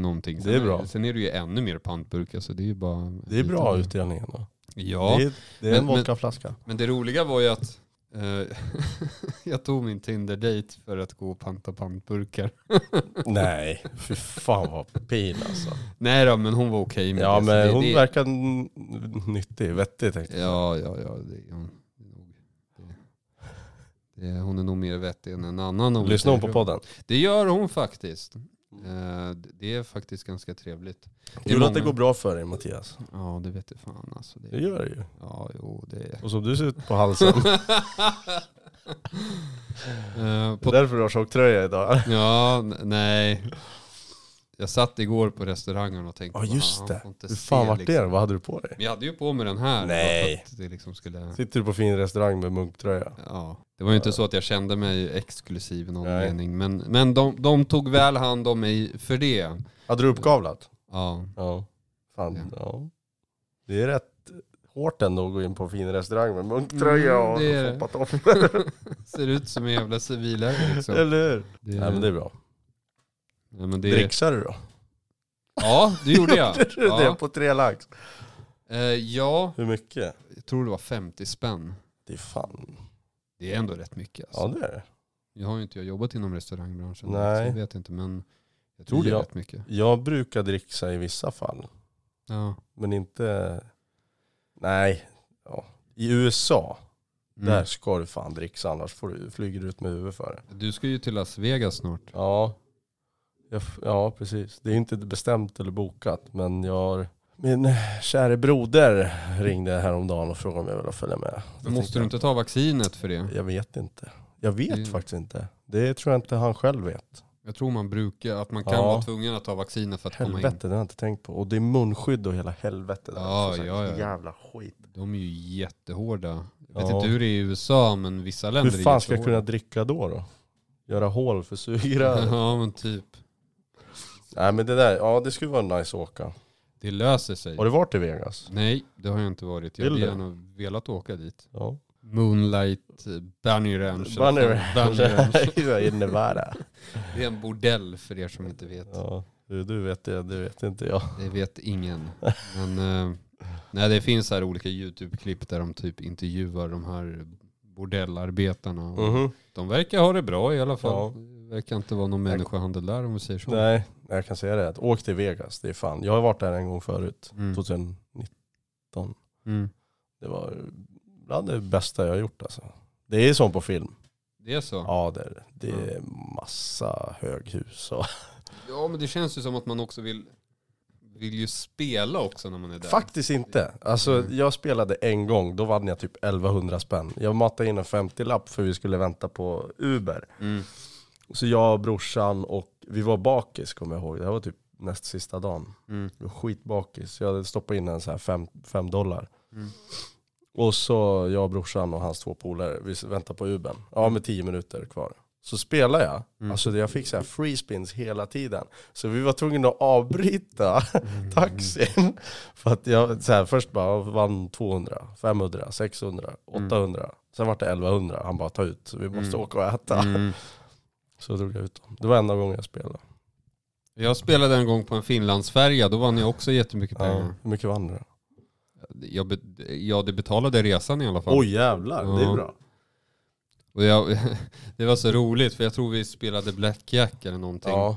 Speaker 2: någonting.
Speaker 1: Det är bra.
Speaker 2: Sen är det ju ännu mer pantburkar så det är ju bara... en
Speaker 1: Det är bra
Speaker 2: liten-
Speaker 1: utdelningen då.
Speaker 2: Ja,
Speaker 1: Det är, det är en
Speaker 2: Men- men-
Speaker 1: vodkaflaska.
Speaker 2: men det roliga var ju att eh, [laughs] jag tog min Tinder-date för att gå och panta pantburkar. [laughs]
Speaker 1: Nej, fy fan vad pin
Speaker 2: [laughs]
Speaker 1: alltså.
Speaker 2: Nej då, men hon var okej med
Speaker 1: Ja
Speaker 2: det. så
Speaker 1: men
Speaker 2: det,
Speaker 1: hon
Speaker 2: det,
Speaker 1: verkar n- nyttig, vettig tänkte jag.
Speaker 2: Ja, ja, ja. Det, hon, det, är nog- det, det, hon är nog mer vettig än en annan. om vi
Speaker 1: Lyssnar hon
Speaker 2: säger
Speaker 1: på
Speaker 2: så.
Speaker 1: podden?
Speaker 2: Det gör hon faktiskt. Eh, det är faktiskt ganska trevligt. Det är
Speaker 1: Kul att det
Speaker 2: många-
Speaker 1: går bra för dig Mattias.
Speaker 2: Ja, det vet jag fan alltså.
Speaker 1: Det
Speaker 2: Det,
Speaker 1: gör det ju.
Speaker 2: ja, jo,
Speaker 1: [laughs]
Speaker 2: det...
Speaker 1: Och som du ser ut på halsen.
Speaker 2: [laughs]
Speaker 1: Det
Speaker 2: Eh,
Speaker 1: är
Speaker 2: på,
Speaker 1: därför du har tjocktröja idag.
Speaker 2: ja, n- nej. Jag satt igår på restaurangen och tänkte
Speaker 1: Ja just
Speaker 2: "Fan,
Speaker 1: det.
Speaker 2: får inte
Speaker 1: Hur
Speaker 2: se,
Speaker 1: fan vart det
Speaker 2: liksom.
Speaker 1: då? Vad hade du på dig?
Speaker 2: Men jag hade ju på mig den här.
Speaker 1: Nej.
Speaker 2: bara För att det liksom skulle...
Speaker 1: Sitter du på fin restaurang med munktröja?
Speaker 2: Ja, det var ju inte så att jag kände mig exklusiv i någon
Speaker 1: Nej.
Speaker 2: mening. Men, men de, de tog väl hand om mig för det.
Speaker 1: Hade du uppkavlat?
Speaker 2: Ja,
Speaker 1: Ja.
Speaker 2: Ja.
Speaker 1: Fan, ja. Det är rätt hårt ändå att gå in på en fin restaurang med munktröja
Speaker 2: Mm,
Speaker 1: och
Speaker 2: det är det.
Speaker 1: hoppat om.
Speaker 2: ser ut som en jävla civilare liksom.
Speaker 1: [laughs] Eller hur?
Speaker 2: Det,
Speaker 1: Nej men det är bra.
Speaker 2: nej, men det-
Speaker 1: Dricksar du då?
Speaker 2: Ja, det gjorde jag.
Speaker 1: [laughs] Det är
Speaker 2: [laughs] Ja,
Speaker 1: på tre lax.
Speaker 2: Eh, ja
Speaker 1: Hur mycket?
Speaker 2: jag tror det var 50 spänn.
Speaker 1: Det är fan.
Speaker 2: Det är ändå rätt mycket. Alltså.
Speaker 1: Ja det är det.
Speaker 2: Jag har ju inte jag har jobbat inom restaurangbranschen. Så
Speaker 1: Nej.
Speaker 2: jag vet inte, men jag tror det är
Speaker 1: Ja.
Speaker 2: rätt mycket.
Speaker 1: Jag brukar dricksa i vissa fall.
Speaker 2: Ja.
Speaker 1: Men inte... Nej. Ja. I USA,
Speaker 2: Mm.
Speaker 1: där ska du fan dricksa annars får du, flyger du ut med huvudet för det.
Speaker 2: Du ska ju till Las Vegas snart.
Speaker 1: Ja. Jag, f- ja, precis. Det är inte bestämt eller bokat, men jag har... Min käre broder ringde häromdagen och frågade om jag ville följa med. Då
Speaker 2: Måste Mm.
Speaker 1: tänkte
Speaker 2: du
Speaker 1: jag,
Speaker 2: inte ta vaccinet för det?
Speaker 1: Jag vet inte. Jag vet
Speaker 2: Det-
Speaker 1: faktiskt inte. Det tror jag inte han själv vet.
Speaker 2: Jag tror man brukar, att man kan
Speaker 1: Ja.
Speaker 2: vara tvungen att ta vaccinet för att komma in.
Speaker 1: Helvete, det har jag inte tänkt på. Och det är munskydd och hela helvetet.
Speaker 2: Ja,
Speaker 1: Så sagt,
Speaker 2: ja, ja.
Speaker 1: Jävla skit.
Speaker 2: De är ju jättehårda. Jag vet
Speaker 1: Ja.
Speaker 2: inte hur det är i USA, men vissa länder
Speaker 1: Hur fan
Speaker 2: är
Speaker 1: ska jag
Speaker 2: jättehårda.
Speaker 1: kunna dricka då? då? göra hål för sugrör.
Speaker 2: [laughs] ja men typ.
Speaker 1: Nej men det där, ja det skulle vara nice att åka.
Speaker 2: Det löser sig.
Speaker 1: Har du varit i Vegas?
Speaker 2: Nej, det har jag inte varit. Jag
Speaker 1: Vill
Speaker 2: hade
Speaker 1: du?
Speaker 2: gärna velat åka dit.
Speaker 1: Ja.
Speaker 2: Moonlight eh, Bunny Ranch. eller
Speaker 1: Bunny
Speaker 2: fan,
Speaker 1: Ranch. [laughs]
Speaker 2: Bunny Ranch.
Speaker 1: i Nevada.
Speaker 2: Det är en bordell för er som inte vet.
Speaker 1: Ja, du, du vet det, det vet inte jag.
Speaker 2: Det vet ingen. Men eh, nej, det finns här olika YouTube-klipp där de typ intervjuar de här bordellarbetarna. Och
Speaker 1: Mhm.
Speaker 2: De verkar ha det bra i alla fall.
Speaker 1: Ja.
Speaker 2: Det verkar inte vara någon människohandel där om vi säger så.
Speaker 1: Nej, jag kan säga det. Att åk till Vegas, det är fan. Jag har varit där en gång förut,
Speaker 2: Mm.
Speaker 1: 2019.
Speaker 2: Mm.
Speaker 1: Det var bland det bästa jag har gjort alltså. Det är som på film.
Speaker 2: Det är så? Ja.
Speaker 1: Ja, det är det. Det är massa höghus och...
Speaker 2: men det känns ju som att man också vill, vill ju spela också när man är där.
Speaker 1: Faktiskt inte. Alltså
Speaker 2: Mm.
Speaker 1: jag spelade en gång, då vann jag typ 1100 spänn. Jag matade in en 50-lapp för vi skulle vänta på Uber.
Speaker 2: Mm.
Speaker 1: Så jag, brorsan och vi var bakis kommer jag ihåg. Det här var typ näst sista dagen.
Speaker 2: Mm.
Speaker 1: Jag var skitbakis. Jag hade stoppat in en så här fem, fem dollar.
Speaker 2: Mm.
Speaker 1: Och så jag, brorsan och hans två polare, vi väntar på Uben. Ja, med tio minuter kvar. Så spelar jag.
Speaker 2: Mm.
Speaker 1: Alltså jag fick så här free spins hela tiden. Så vi var tvungna att avbryta [laughs] taxin. För att jag så här, först bara vann 200, 500, 600, 800. Sen var det 1100. Han bara ta ut, så vi måste
Speaker 2: Mm.
Speaker 1: åka och äta. [laughs]
Speaker 2: Mm.
Speaker 1: Så drog jag ut dem. Det var enda gången jag spelade.
Speaker 2: Jag spelade en gång på en Finlandsfärja, då vann jag också jättemycket
Speaker 1: Ja.
Speaker 2: pengar.
Speaker 1: Hur mycket vann du då?
Speaker 2: Jag, be- ja, det betalade resan i alla fall.
Speaker 1: Oj jävlar, det
Speaker 2: Ja.
Speaker 1: är bra.
Speaker 2: Och jag, [laughs] det var så roligt för jag tror vi spelade blackjack eller någonting.
Speaker 1: Ja.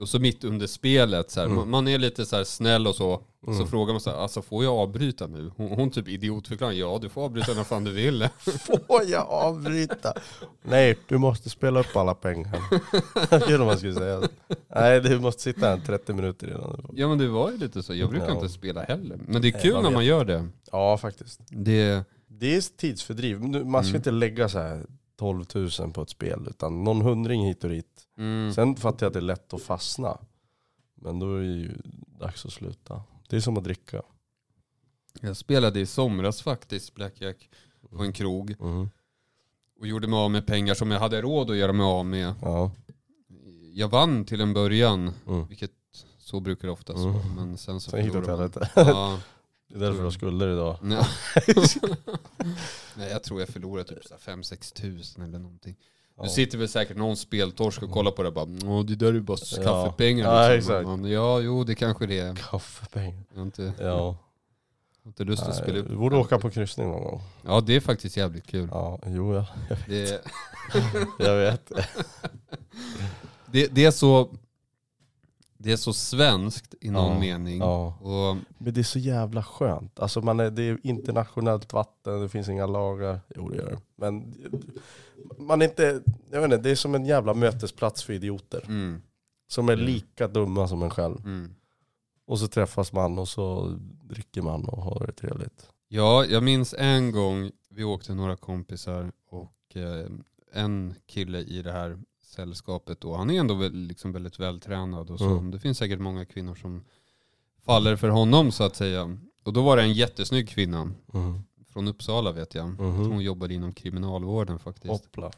Speaker 2: Och så mitt under spelet, så här,
Speaker 1: Mm.
Speaker 2: man, man är lite så här snäll och så.
Speaker 1: Mm.
Speaker 2: Så frågar man så här, alltså får jag avbryta nu? Hon, hon typ idiotförklarar, ja du får avbryta när fan du vill. [laughs]
Speaker 1: Får jag avbryta? Nej, du måste spela upp alla pengar. Kul om man skulle säga så. Nej, du måste sitta här 30 minuter innan du får.
Speaker 2: ja men det var ju lite så, jag brukar
Speaker 1: Ja.
Speaker 2: inte spela heller. Men det är
Speaker 1: Nej,
Speaker 2: kul
Speaker 1: man
Speaker 2: när
Speaker 1: vet.
Speaker 2: man gör det.
Speaker 1: Ja, faktiskt.
Speaker 2: Det,
Speaker 1: Det är tidsfördriv. Nu- Man ska
Speaker 2: Mm.
Speaker 1: inte lägga så här 12 000 på ett spel, utan någon hundring hit och dit.
Speaker 2: mm,
Speaker 1: Sen fattar jag att det är lätt att fastna. Men då är det ju dags att sluta. Det är som att dricka.
Speaker 2: jag spelade i somras faktiskt blackjack på en krog
Speaker 1: Mm.
Speaker 2: och gjorde mig av med pengar som jag hade råd att göra mig av med.
Speaker 1: Ja.
Speaker 2: Jag vann till en början,
Speaker 1: Mm.
Speaker 2: vilket så brukar det oftast
Speaker 1: Mm.
Speaker 2: vara. Men sen så
Speaker 1: Sen gick det åt
Speaker 2: förlorar man.
Speaker 1: helvete.
Speaker 2: Ja.
Speaker 1: Det är därför jag har skulder idag.
Speaker 2: Nej.
Speaker 1: [laughs]
Speaker 2: Nej, jag tror jag förlorade typ 5-6 tusen eller någonting.
Speaker 1: Ja.
Speaker 2: Nu sitter väl säkert någon speltorsk och kollar på det och bara Åh, det där är ju bara
Speaker 1: Ja.
Speaker 2: kaffepengar.
Speaker 1: Ja,
Speaker 2: liksom."
Speaker 1: exakt.
Speaker 2: Man, ja, jo det kanske det är.
Speaker 1: Kaffepengar.
Speaker 2: Jag har inte,
Speaker 1: Ja.
Speaker 2: har inte lust att spela
Speaker 1: Nej,
Speaker 2: upp.
Speaker 1: Vi borde åka på kryssning någon gång.
Speaker 2: Ja, det är faktiskt jävligt kul.
Speaker 1: Ja, jo ja.
Speaker 2: Det,
Speaker 1: Jag vet.
Speaker 2: det, det, är så, det är så svenskt i någon
Speaker 1: Ja.
Speaker 2: mening.
Speaker 1: Ja.
Speaker 2: Och,
Speaker 1: Men det är så jävla skönt. Alltså man är, det är internationellt vatten, det finns inga lagar. Jo det gör det. Men man är inte, jag vet inte, det är som en jävla mötesplats för idioter.
Speaker 2: mm,
Speaker 1: Som är
Speaker 2: Mm.
Speaker 1: lika dumma som en själv.
Speaker 2: mm.
Speaker 1: Och så träffas man och så dricker man och har det trevligt.
Speaker 2: Ja, jag minns en gång vi åkte några kompisar och eh, en kille i det här sällskapet då, han är ändå väl, liksom väldigt vältränad och så.
Speaker 1: Mm.
Speaker 2: Det finns säkert många kvinnor som faller för honom så att säga. Och då var det en jättesnygg kvinna
Speaker 1: Mm.
Speaker 2: från Uppsala vet jag.
Speaker 1: Mhm.
Speaker 2: Hon jobbade inom kriminalvården faktiskt.
Speaker 1: Hoppla.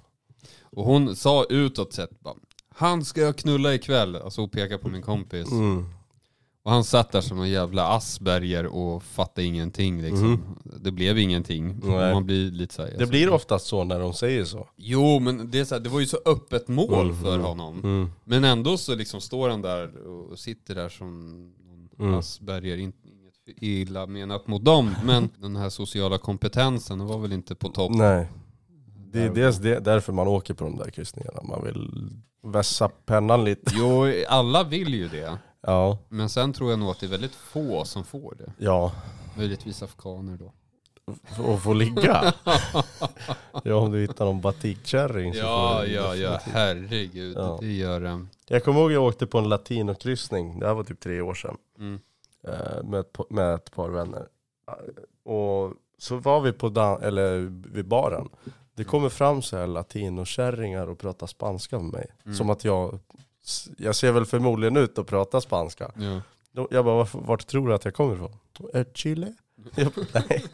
Speaker 2: Och hon sa utåt sett bara, han ska jag knulla ikväll. Alltså hon pekar på min kompis.
Speaker 1: Mm.
Speaker 2: Och han satt där som en jävla Asperger och fattade ingenting liksom. Det blev ingenting.
Speaker 1: Mm. Nej.
Speaker 2: Man blir lite så här, alltså.
Speaker 1: Det blir oftast så när de säger så.
Speaker 2: Jo men det, är så här, det var ju så öppet mål
Speaker 1: Mm,
Speaker 2: för
Speaker 1: mm.
Speaker 2: honom.
Speaker 1: Mm.
Speaker 2: Men ändå så liksom står han där och sitter där som någon
Speaker 1: Mm.
Speaker 2: Asperger. In- Inget illa menat mot dem.
Speaker 1: [laughs]
Speaker 2: Men den här sociala kompetensen den var väl inte på topp.
Speaker 1: Nej. Det är dels det, därför man åker på de där kryssningarna. Man vill vässa pennan lite.
Speaker 2: Jo, alla vill ju det.
Speaker 1: Ja.
Speaker 2: Men sen tror jag nog att det är väldigt få som får det.
Speaker 1: Ja.
Speaker 2: Möjligtvis afghaner då.
Speaker 1: Och få ligga? [laughs] ja om du hittar någon batikkärring så får
Speaker 2: Ja,
Speaker 1: du
Speaker 2: ja, ja.
Speaker 1: definitivt.
Speaker 2: Herregud.
Speaker 1: Ja.
Speaker 2: Det gör det.
Speaker 1: Jag kommer ihåg jag åkte på en latinokryssning, det här var typ tre år sedan,
Speaker 2: Mm.
Speaker 1: eh, med, ett, pa- med ett par vänner. Eh, Och så var vi på dan- eller vid baren. Det kommer fram så här latinokärringar och pratar spanska med mig.
Speaker 2: Mm.
Speaker 1: Som att jag, jag ser väl förmodligen ut och pratar spanska.
Speaker 2: Ja.
Speaker 1: Då- Jag bara, "Varför- vart tror du att jag kommer ifrån? Eh, Chile? Jag bara, nej.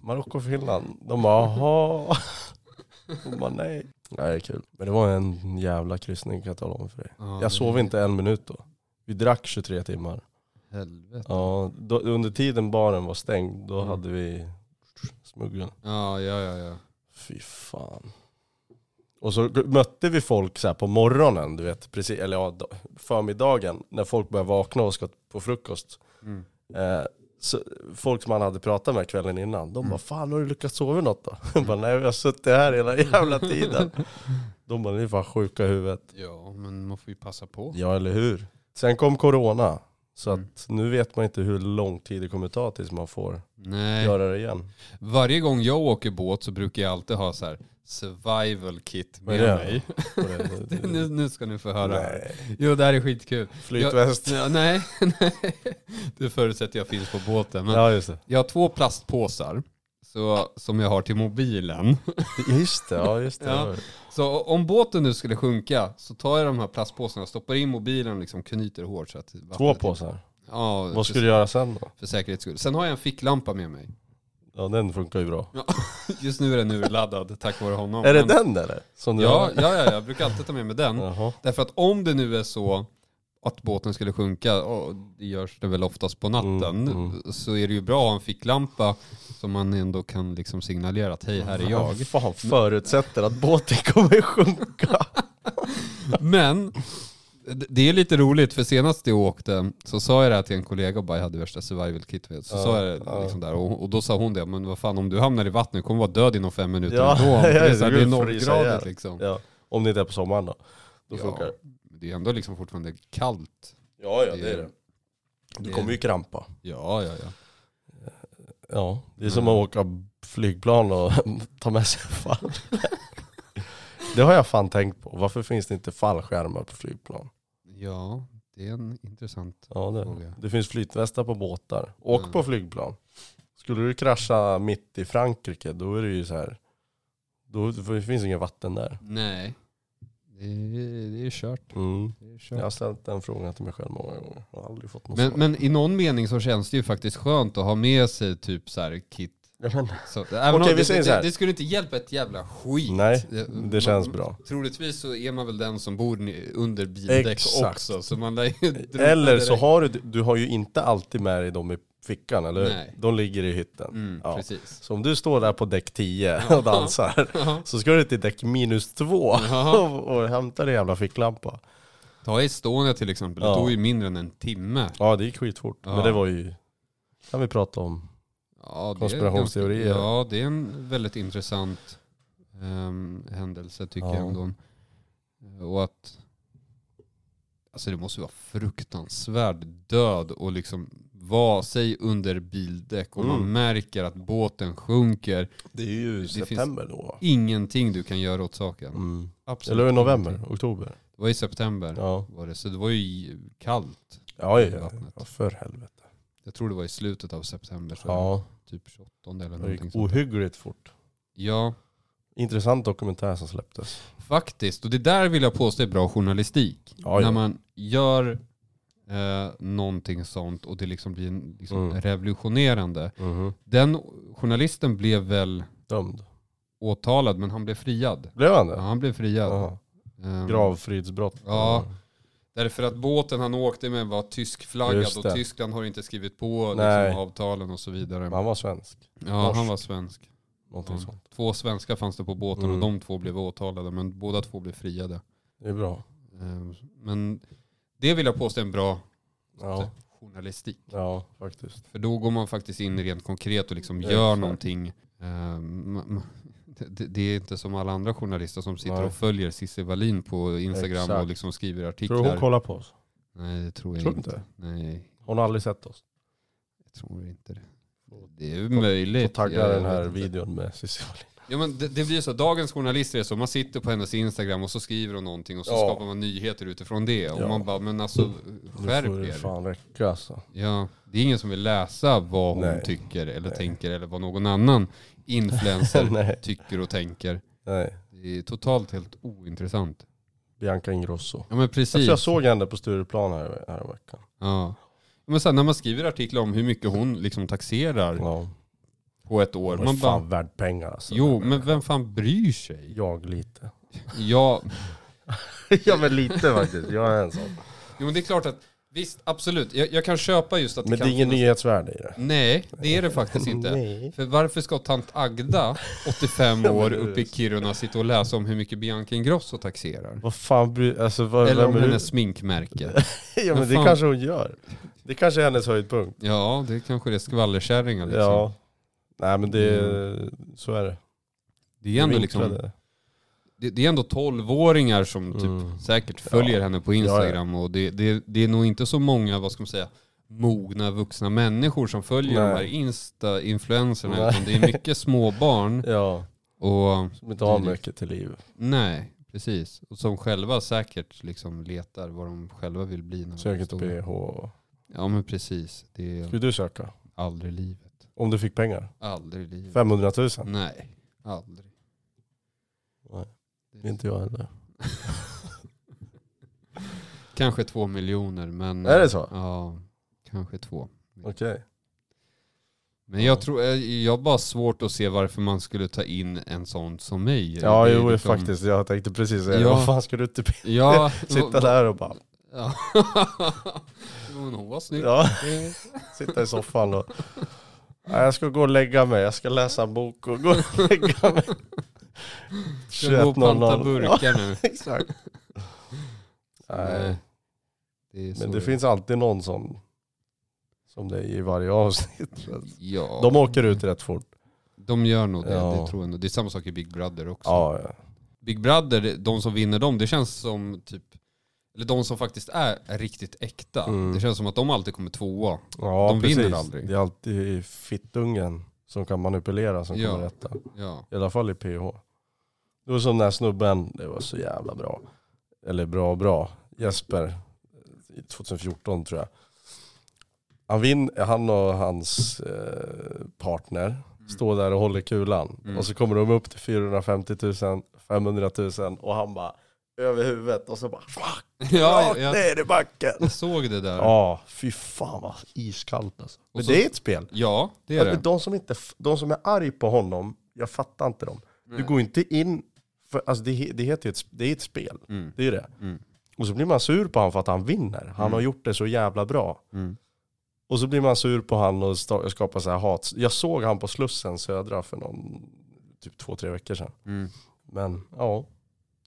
Speaker 1: Marocko, Finland. De bara, jaha. Och man, nej. Nej, det är kul. Men det var en jävla kryssning kan jag tala om för dig.
Speaker 2: Ja, det-
Speaker 1: Jag sov inte en minut då. Vi drack 23 timmar.
Speaker 2: Helvete.
Speaker 1: Ja, då, under tiden baren var stängd, då
Speaker 2: Mm.
Speaker 1: hade vi smuggeln.
Speaker 2: Ja, ja, ja. ja.
Speaker 1: Fy fan. Och så g- mötte vi folk så här på morgonen, du vet, precis, eller ja, da- förmiddagen, när folk började vakna och ska på frukost.
Speaker 2: Mm.
Speaker 1: Eh, så, folk som man hade pratat med kvällen innan, de
Speaker 2: Mm.
Speaker 1: bara 'Fan har du lyckats sova något då?' [laughs] Jag bara 'Nej jag har suttit här hela jävla
Speaker 2: [laughs]
Speaker 1: tiden' De bara 'Ni är fan sjuka i huvudet'
Speaker 2: Ja, men man får ju passa på.
Speaker 1: Ja eller hur? Sen kom corona, så
Speaker 2: Mm.
Speaker 1: att nu vet man inte hur lång tid det kommer ta tills man får
Speaker 2: Nej.
Speaker 1: göra det igen.
Speaker 2: Varje gång jag åker båt så brukar jag alltid ha så här survival kit
Speaker 1: Vad
Speaker 2: med
Speaker 1: är det?
Speaker 2: mig. [laughs]
Speaker 1: Och det-
Speaker 2: [laughs] nu, nu ska ni få höra.
Speaker 1: Nej,
Speaker 2: Jo, det här är skitkul.
Speaker 1: flytväst.
Speaker 2: Ja, nej, [laughs] nej. Det förutsätter jag finns på båten. Men
Speaker 1: Ja just det.
Speaker 2: Jag har två plastpåsar så, som jag har till mobilen.
Speaker 1: Just det, ja just det.
Speaker 2: Ja. Så om båten nu skulle sjunka så tar jag de här plastpåsarna, stoppar in mobilen och liksom knyter hårt. Så att
Speaker 1: Två
Speaker 2: vattnet-
Speaker 1: påsar.
Speaker 2: Ja,
Speaker 1: Vad ska
Speaker 2: för,
Speaker 1: du göra sen då?
Speaker 2: för säkerhets skull. Sen har jag en ficklampa med mig. [laughs]
Speaker 1: Ja den funkar ju bra.
Speaker 2: Just nu är den urladdad tack vare honom.
Speaker 1: Är det
Speaker 2: Men-
Speaker 1: den eller? Som du
Speaker 2: Ja,
Speaker 1: har?
Speaker 2: ja, ja, jag brukar alltid ta med mig den.
Speaker 1: Jaha.
Speaker 2: Därför att om det nu är så att båten skulle sjunka, och det görs det väl oftast på natten,
Speaker 1: Mm, mm.
Speaker 2: så är det ju bra att ha en ficklampa som man ändå kan liksom signalera att hej, här är jag.
Speaker 1: Fan förutsätter att båten kommer sjunka.
Speaker 2: Men d- det är lite roligt, för senast jag åkte så sa jag det här till en kollega och bara jag hade värsta survival kit. vet. Så
Speaker 1: Ja,
Speaker 2: sa jag det
Speaker 1: ja.
Speaker 2: liksom där och, och då sa hon det, men vad fan om du hamnar i vattnet kommer du vara död inom fem minuter
Speaker 1: Ja, [laughs]
Speaker 2: ändå.
Speaker 1: ja,
Speaker 2: Det är
Speaker 1: det
Speaker 2: så här, det
Speaker 1: går
Speaker 2: är
Speaker 1: att frysa
Speaker 2: nollgradigt
Speaker 1: ihjäl.
Speaker 2: liksom.
Speaker 1: [laughs] Ja. Om det inte är på sommaren då. Då
Speaker 2: Ja,
Speaker 1: funkar det.
Speaker 2: men Det är ändå liksom fortfarande kallt.
Speaker 1: Ja ja
Speaker 2: det är det.
Speaker 1: Du kommer ju krampa.
Speaker 2: Ja, ja, ja.
Speaker 1: Ja, det är som att åka flygplan och [laughs] ta med sig fall. Det har jag fan tänkt på. Varför finns det inte fallskärmar på flygplan?
Speaker 2: Ja, det är en intressant
Speaker 1: Ja, det,
Speaker 2: fråga.
Speaker 1: det finns flytvästar på båtar. Åk
Speaker 2: Mm.
Speaker 1: på flygplan. Skulle du krascha mitt i Frankrike, då är det ju så här. Då för det finns inget vatten där.
Speaker 2: Nej, det är, det är kört.
Speaker 1: Mm.
Speaker 2: Det är kört.
Speaker 1: Jag har ställt den frågan till mig själv många gånger. Jag har aldrig fått något
Speaker 2: Men,
Speaker 1: svar.
Speaker 2: men i någon mening så känns det ju faktiskt skönt att ha med sig typ så här kit.
Speaker 1: Ja, men,
Speaker 2: Så, även om
Speaker 1: Okej, vi
Speaker 2: det,
Speaker 1: säger
Speaker 2: det,
Speaker 1: så här.
Speaker 2: det skulle inte hjälpa ett jävla skit.
Speaker 1: Nej,
Speaker 2: man-
Speaker 1: det känns bra.
Speaker 2: Troligtvis så är man väl den som bor ni- under bildäck
Speaker 1: Exakt.
Speaker 2: också. Så man lär ju [laughs] drunkna
Speaker 1: Eller så
Speaker 2: direkt.
Speaker 1: har du, du har ju inte alltid med dig dem i fickan, eller hur?
Speaker 2: Nej.
Speaker 1: De ligger i hytten.
Speaker 2: Mm,
Speaker 1: Ja.
Speaker 2: precis.
Speaker 1: Så om du står där på däck 10 och dansar så ska du till däck minus 2 [laughs]
Speaker 2: Ja.
Speaker 1: och, och hämta din jävla ficklampa.
Speaker 2: Ta Estonia till exempel, det
Speaker 1: Ja.
Speaker 2: tog ju mindre än en timme.
Speaker 1: Ja det gick skitfort.
Speaker 2: Ja.
Speaker 1: Men det var ju, kan vi prata om.
Speaker 2: Ja, det är
Speaker 1: Konspirationsteorier.
Speaker 2: ganska- Ja, det är en väldigt intressant ehm, händelse tycker
Speaker 1: Ja.
Speaker 2: jag ändå. Och att, alltså det måste vara fruktansvärd död och liksom vara, sig under bildäck och man
Speaker 1: Mm.
Speaker 2: märker att båten sjunker.
Speaker 1: Det är ju
Speaker 2: finns-
Speaker 1: september då.
Speaker 2: Ingenting du kan göra åt saken.
Speaker 1: Mm.
Speaker 2: Absolut
Speaker 1: Eller i
Speaker 2: ingenting.
Speaker 1: november, oktober.
Speaker 2: Det var i september.
Speaker 1: Ja,
Speaker 2: Var det. Så det var ju kallt.
Speaker 1: ja,
Speaker 2: i
Speaker 1: ja,
Speaker 2: vattnet.
Speaker 1: ja för helvete.
Speaker 2: Jag tror det var i slutet av september. Så
Speaker 1: Ja,
Speaker 2: Typ 28 eller
Speaker 1: det
Speaker 2: någonting
Speaker 1: gick
Speaker 2: sånt. där.
Speaker 1: ohyggligt fort.
Speaker 2: Ja,
Speaker 1: Intressant dokumentär som släpptes.
Speaker 2: Faktiskt, och det där vill jag påstå är bra journalistik.
Speaker 1: Ja,
Speaker 2: När
Speaker 1: ja.
Speaker 2: man gör eh, någonting sånt och det liksom blir en- liksom
Speaker 1: Mm.
Speaker 2: revolutionerande.
Speaker 1: Mhm.
Speaker 2: Den journalisten blev väl
Speaker 1: Dömd.
Speaker 2: åtalad men han blev friad.
Speaker 1: Blev han
Speaker 2: Ja,
Speaker 1: det?
Speaker 2: han blev friad.
Speaker 1: Ja.
Speaker 2: Ehm,
Speaker 1: Gravfridsbrott. Mm.
Speaker 2: Ja. Därför att båten han åkte med var
Speaker 1: Just
Speaker 2: tyskflaggad och
Speaker 1: det.
Speaker 2: Tyskland har inte skrivit på
Speaker 1: Nej.
Speaker 2: liksom, avtalen och så vidare.
Speaker 1: Men han var svensk.
Speaker 2: Ja, han
Speaker 1: norskt.
Speaker 2: var svensk.
Speaker 1: Någonting
Speaker 2: Ja.
Speaker 1: sånt.
Speaker 2: Två svenskar fanns det på båten och
Speaker 1: Mm.
Speaker 2: de två blev åtalade men båda två blev friade.
Speaker 1: Det är bra.
Speaker 2: Ehm, Men det vill jag påstå är en bra
Speaker 1: Ja,
Speaker 2: journalistik.
Speaker 1: ja faktiskt.
Speaker 2: För då går man faktiskt in rent konkret och liksom
Speaker 1: Ja,
Speaker 2: gör
Speaker 1: exakt.
Speaker 2: någonting. Ehm, ma- ma- [laughs] det, det är inte som alla andra journalister som sitter
Speaker 1: Nej.
Speaker 2: och följer Cissi Wallin på Instagram
Speaker 1: Exakt.
Speaker 2: och liksom skriver
Speaker 1: Tror du hon
Speaker 2: artiklar.
Speaker 1: kollar på oss?
Speaker 2: Nej, det tror jag
Speaker 1: Tror du
Speaker 2: inte.
Speaker 1: inte?
Speaker 2: Nej,
Speaker 1: Hon har aldrig sett oss.
Speaker 2: jag tror inte det. Det är ju möjligt.
Speaker 1: Får tagga
Speaker 2: Jag- jag
Speaker 1: den här
Speaker 2: vet inte.
Speaker 1: videon med Cissi Wallin.
Speaker 2: Ja, men det, det blir så. Dagens journalister är så. Man sitter på hennes Instagram och så skriver hon någonting och så
Speaker 1: Ja.
Speaker 2: skapar man nyheter utifrån det. Och
Speaker 1: Ja.
Speaker 2: man bara, men alltså
Speaker 1: Nu får
Speaker 2: skärp
Speaker 1: det
Speaker 2: er.
Speaker 1: fan räcka
Speaker 2: [laughs]
Speaker 1: alltså.
Speaker 2: Ja, det är ingen som vill läsa vad hon
Speaker 1: Nej.
Speaker 2: tycker eller
Speaker 1: Nej.
Speaker 2: tänker eller vad någon annan influencer
Speaker 1: [laughs] Nej.
Speaker 2: tycker och tänker.
Speaker 1: Nej,
Speaker 2: Det är totalt helt ointressant.
Speaker 1: Bianca Ingrosso. Alltså,
Speaker 2: Ja men
Speaker 1: Jag
Speaker 2: precis.
Speaker 1: tror jag såg henne på Stureplan här, här veckan.
Speaker 2: Ja. Men sen när man skriver artiklar om hur mycket hon liksom taxerar
Speaker 1: Ja.
Speaker 2: på ett år.
Speaker 1: Man
Speaker 2: Man
Speaker 1: fan
Speaker 2: bara,
Speaker 1: värd pengar alltså.
Speaker 2: jo men vem fan bryr sig?
Speaker 1: Jag [laughs] lite.
Speaker 2: Ja,
Speaker 1: ja men lite faktiskt, jag är en sån.
Speaker 2: jo men det är klart att visst absolut, jag, jag kan köpa just att
Speaker 1: Men det
Speaker 2: kan
Speaker 1: är ingen
Speaker 2: finnas-
Speaker 1: nyhetsvärde i det.
Speaker 2: Nej, det är det [laughs] faktiskt inte.
Speaker 1: [laughs] Nej.
Speaker 2: För varför ska tant Agda, 85
Speaker 1: Ja, men
Speaker 2: år,
Speaker 1: det är
Speaker 2: uppe i
Speaker 1: så.
Speaker 2: Kiruna sitta och läsa om hur mycket Bianca Ingrosso taxerar?
Speaker 1: Vad fan bryr alltså, vad,
Speaker 2: Eller
Speaker 1: vem
Speaker 2: om
Speaker 1: är du?
Speaker 2: hennes sminkmärke.
Speaker 1: [laughs] Ja men
Speaker 2: Vad
Speaker 1: det
Speaker 2: fan?
Speaker 1: kanske hon gör. Det kanske är hennes höjdpunkt.
Speaker 2: Ja, det kanske det är skvallerkärringar liksom. Mm.
Speaker 1: Ja. Nej men det, så är det.
Speaker 2: Det är ändå liksom,
Speaker 1: Vinklade.
Speaker 2: det, det är ändå 12-åringar som typ
Speaker 1: Mm.
Speaker 2: säkert följer henne på Instagram och det, det, det är nog inte så många, vad ska man säga, mogna vuxna människor som följer
Speaker 1: Nej.
Speaker 2: de här Insta-influencerna
Speaker 1: Nej.
Speaker 2: utan det är
Speaker 1: [laughs]
Speaker 2: mycket småbarn
Speaker 1: Ja,
Speaker 2: och
Speaker 1: som inte har mycket till liv.
Speaker 2: nej, precis. Och som själva säkert liksom letar vad de själva vill bli. När de
Speaker 1: Söker
Speaker 2: blir
Speaker 1: till
Speaker 2: stora.
Speaker 1: PH.
Speaker 2: Ja men precis, det är
Speaker 1: Skulle du söka?
Speaker 2: aldrig livet.
Speaker 1: Om du fick pengar?
Speaker 2: Aldrig livet.
Speaker 1: 500 000? Nej.
Speaker 2: Nej, aldrig. Mm.
Speaker 1: Inte jag heller.
Speaker 2: Kanske två miljoner men... eh,
Speaker 1: Är det så?
Speaker 2: Ja, kanske två.
Speaker 1: Okej.
Speaker 2: Men jag tror, eh, jag har bara svårt att se varför man skulle ta in en sån som mig.
Speaker 1: Ja,
Speaker 2: Det är
Speaker 1: jo
Speaker 2: liksom-
Speaker 1: faktiskt. Jag tänkte precis säga
Speaker 2: Ja.
Speaker 1: Vad fan ska du inte
Speaker 2: Ja,
Speaker 1: [laughs]
Speaker 2: [laughs]
Speaker 1: sitta där och bara...
Speaker 2: Ja. [laughs] Jo, men hon var snygg.
Speaker 1: Ja,
Speaker 2: Eh,
Speaker 1: [laughs] sitta i soffan och... Nej, jag ska gå och lägga mig. Jag ska läsa en bok och gå och lägga mig.
Speaker 2: Ska gå och panta
Speaker 1: 21.00. Ja,
Speaker 2: burkar nu.
Speaker 1: exakt. Nej,
Speaker 2: det är så
Speaker 1: men det finns alltid någon sån som det är i varje avsnitt.
Speaker 2: Ja,
Speaker 1: De åker ut rätt fort.
Speaker 2: de gör nog det.
Speaker 1: Ja.
Speaker 2: Det tror jag ändå. Det är samma sak i Big Brother också.
Speaker 1: Ja, ja.
Speaker 2: Big Brother, de som vinner dem, det känns som typ, eller de som faktiskt är, är riktigt äkta.
Speaker 1: Mm.
Speaker 2: Det känns som att de alltid kommer tvåa.
Speaker 1: ja
Speaker 2: De vinner aldrig.
Speaker 1: Det är alltid fittungen som kan manipulera som
Speaker 2: Ja.
Speaker 1: kommer rätta.
Speaker 2: Ja.
Speaker 1: [laughs] I alla fall i PH. Det var som den här snubben, det var så jävla bra. Eller bra och bra. Jesper, i 2014 tror jag. Han, vin, han och hans eh, partner står där och håller kulan.
Speaker 2: Mm.
Speaker 1: Och så kommer de upp till 450 000, 500 000 och han bara över huvudet och så bara fuck,
Speaker 2: ja,
Speaker 1: rakt
Speaker 2: jag,
Speaker 1: ner i backen.
Speaker 2: jag såg det där. Ja,
Speaker 1: Ja, fy fan vad iskallt alltså. Men
Speaker 2: så-
Speaker 1: det är ett spel.
Speaker 2: det är det.
Speaker 1: Alltså, De som, inte, de som är arg på honom, jag fattar inte dem. Du går inte in, för, alltså det, he- det heter ju ett, det är ett spel,
Speaker 2: Mm.
Speaker 1: det är det.
Speaker 2: Mm.
Speaker 1: Och så blir man sur på han för att han vinner. Han har gjort det så jävla bra.
Speaker 2: Mm.
Speaker 1: Och så blir man sur på han och sta- skapar så här hat. Jag såg han på Slussen Södra för någon, typ två, tre veckor sedan.
Speaker 2: Mm.
Speaker 1: Men ja,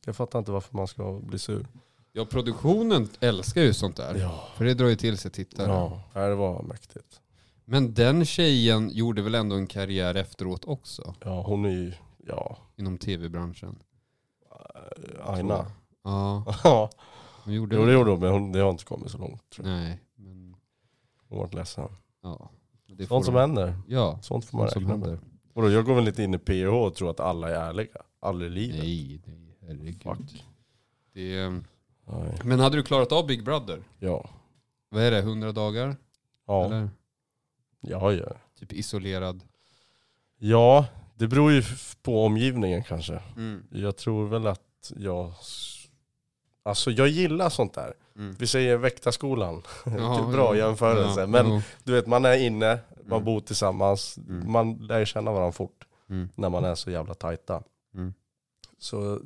Speaker 1: jag fattar inte varför man ska bli sur.
Speaker 2: Ja, produktionen älskar ju sånt där.
Speaker 1: Ja,
Speaker 2: För det drar ju till sig tittare.
Speaker 1: ja. Nej, det var mäktigt.
Speaker 2: Men den tjejen gjorde väl ändå en karriär efteråt också?
Speaker 1: Ja, hon är ju, ja,
Speaker 2: Inom tv-branschen.
Speaker 1: eh, Aina.
Speaker 2: Ja,
Speaker 1: Ja,
Speaker 2: hon
Speaker 1: [laughs]
Speaker 2: gjorde
Speaker 1: jo,
Speaker 2: väl
Speaker 1: det gjorde hon, men hon, det har inte kommit så långt. Tror jag.
Speaker 2: Nej, men
Speaker 1: Hon vart ledsen.
Speaker 2: ja. Det får
Speaker 1: Sånt som
Speaker 2: de-
Speaker 1: händer.
Speaker 2: Ja,
Speaker 1: Sånt får man
Speaker 2: sånt som
Speaker 1: räkna med.
Speaker 2: händer.
Speaker 1: Vadå, jag går väl lite in i PH och tror att alla är ärliga. Aldrig i livet.
Speaker 2: Nej, nej, herregud.
Speaker 1: Fuck.
Speaker 2: Det är...
Speaker 1: Nej.
Speaker 2: Men hade du klarat av Big Brother?
Speaker 1: Ja.
Speaker 2: Vad är det, 100 dagar?
Speaker 1: Ja.
Speaker 2: Eller?
Speaker 1: ja, ja.
Speaker 2: Typ isolerad.
Speaker 1: Ja, det beror ju f- på omgivningen kanske.
Speaker 2: Mm.
Speaker 1: Jag tror väl att jag... s- Alltså jag gillar sånt där.
Speaker 2: [laughs] Mm.
Speaker 1: Vi säger väktarskolan. [laughs]
Speaker 2: Ja,
Speaker 1: Typ Bra
Speaker 2: jo.
Speaker 1: jämförelse.
Speaker 2: Ja,
Speaker 1: Men
Speaker 2: jo.
Speaker 1: du vet, man är inne, man
Speaker 2: Mm.
Speaker 1: bor tillsammans.
Speaker 2: Mm.
Speaker 1: Man lär känna varandra fort
Speaker 2: Mm.
Speaker 1: när man är så jävla tajta.
Speaker 2: Mm.
Speaker 1: Så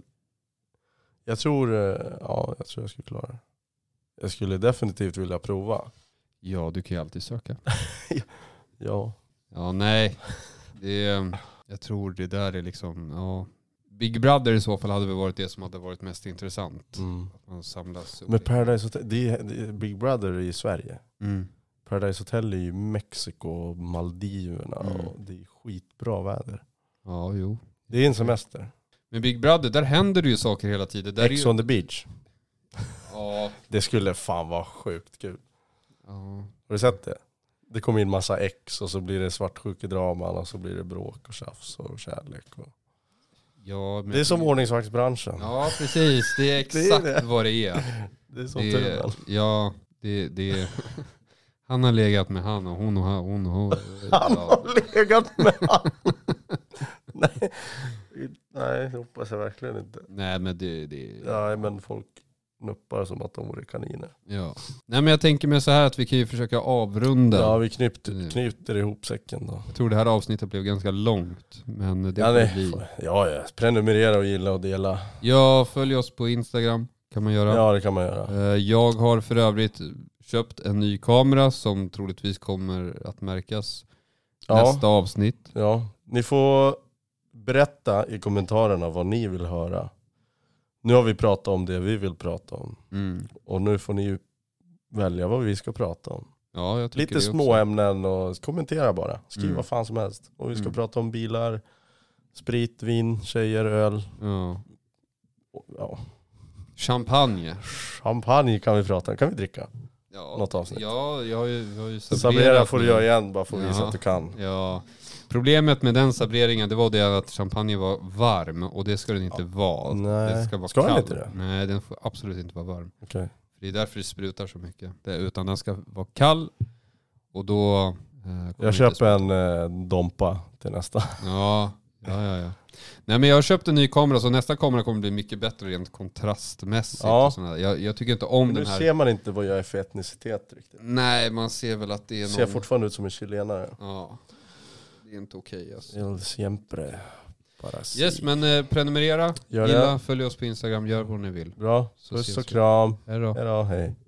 Speaker 1: jag tror, eh, ja, jag tror jag skulle klara det. Jag skulle definitivt vilja prova.
Speaker 2: Ja, du kan ju alltid söka.
Speaker 1: Ja.
Speaker 2: Ja, nej. Det är, jag tror det där är liksom, ja. Big Brother i så fall hade väl varit det som hade varit mest intressant.
Speaker 1: Mm.
Speaker 2: Att man samlas upp.
Speaker 1: Men Paradise Hotel, det är, det är Big Brother i Sverige.
Speaker 2: mm.
Speaker 1: Paradise Hotel är ju Mexiko och Maldiverna
Speaker 2: Mm.
Speaker 1: och det är skitbra väder.
Speaker 2: Ja, jo.
Speaker 1: Det är en semester.
Speaker 2: Men Big Brother, där händer det ju saker hela tiden. Där är
Speaker 1: Ex
Speaker 2: ju,
Speaker 1: on the beach.
Speaker 2: ja,
Speaker 1: Det skulle fan vara sjukt kul.
Speaker 2: ja.
Speaker 1: Har du sett det? Det kommer in massa ex och så blir det svartsjukedraman och så blir det bråk och tjafs och kärlek. Och...
Speaker 2: ja men,
Speaker 1: Det är som ordningsvaktsbranschen.
Speaker 2: Ja, precis. Det är
Speaker 1: [laughs] Det är
Speaker 2: exakt
Speaker 1: det.
Speaker 2: vad det är.
Speaker 1: Det är [laughs] som
Speaker 2: Det,
Speaker 1: tur väl.
Speaker 2: är- ja, det, det [laughs] Han har legat med han och hon och han- hon och hon.
Speaker 1: [laughs] Han
Speaker 2: Ja.
Speaker 1: har legat med han. [laughs] Nej. Nej, det hoppas jag verkligen inte.
Speaker 2: Nej men det, det
Speaker 1: Nej, men folk... nuppar som att de vore kaniner.
Speaker 2: Ja. Nej men jag tänker mig så här att vi kan ju försöka avrunda.
Speaker 1: Ja, vi knypt,
Speaker 2: Mm.
Speaker 1: knyter ihop säcken då.
Speaker 2: Jag tror det här avsnittet blev ganska långt. Men det
Speaker 1: Ja,
Speaker 2: får
Speaker 1: nej.
Speaker 2: bli.
Speaker 1: Ja, ja. Prenumerera och gilla och dela.
Speaker 2: Ja, följ oss på Instagram kan man göra.
Speaker 1: Ja, det kan man göra.
Speaker 2: Eh, Jag har för övrigt köpt en ny kamera som troligtvis kommer att märkas
Speaker 1: Ja,
Speaker 2: nästa avsnitt.
Speaker 1: ja. Ni får berätta i kommentarerna vad ni vill höra. Nu har vi pratat om det vi vill prata om.
Speaker 2: Mm.
Speaker 1: Och nu får ni ju välja vad vi ska prata om.
Speaker 2: Ja, jag tycker
Speaker 1: Lite
Speaker 2: det
Speaker 1: små
Speaker 2: också.
Speaker 1: ämnen och kommentera bara. Skriv
Speaker 2: Mm.
Speaker 1: vad fan som helst. Och vi ska
Speaker 2: Mm.
Speaker 1: prata om bilar, sprit, vin, tjejer, öl.
Speaker 2: Ja.
Speaker 1: Och, ja.
Speaker 2: Champagne.
Speaker 1: Champagne kan vi prata om. Kan vi dricka?
Speaker 2: Ja.
Speaker 1: Något avsnitt.
Speaker 2: Ja, jag har ju, jag har ju
Speaker 1: Sabrera får du
Speaker 2: nu.
Speaker 1: göra igen bara för att visa
Speaker 2: Ja.
Speaker 1: att du kan.
Speaker 2: Ja. Problemet med den sabreringen det var det att champagne var varm och det ska den inte vara.
Speaker 1: Nej.
Speaker 2: Den ska vara
Speaker 1: Ska den
Speaker 2: kall.
Speaker 1: inte det?
Speaker 2: Nej, den får absolut inte vara varm.
Speaker 1: Okej.
Speaker 2: Det är därför det sprutar så mycket. Det, utan den ska vara kall och då... eh, kommer det
Speaker 1: Jag
Speaker 2: inte
Speaker 1: köper en eh, Dompa till nästa.
Speaker 2: Ja, ja, ja. ja. Nej, men jag har köpt en ny kamera så nästa kamera kommer bli mycket bättre rent kontrastmässigt.
Speaker 1: Ja.
Speaker 2: Och sådana där. jag, jag tycker inte om
Speaker 1: Nu
Speaker 2: den här.
Speaker 1: ser man inte vad jag är för etnicitet riktigt.
Speaker 2: Nej, man ser väl att det är
Speaker 1: Ser jag
Speaker 2: någon...
Speaker 1: fortfarande ut som en chilenare?
Speaker 2: ja. Det är inte okej alltså.
Speaker 1: El siempre. Bara
Speaker 2: Yes,
Speaker 1: si.
Speaker 2: men eh, prenumerera,
Speaker 1: Gör det.
Speaker 2: gilla, följ oss på Instagram, gör vad ni vill.
Speaker 1: Bra.
Speaker 2: Så
Speaker 1: Puss
Speaker 2: ses
Speaker 1: och
Speaker 2: vi.
Speaker 1: kram.
Speaker 2: Hej då.
Speaker 1: Hej då, hej.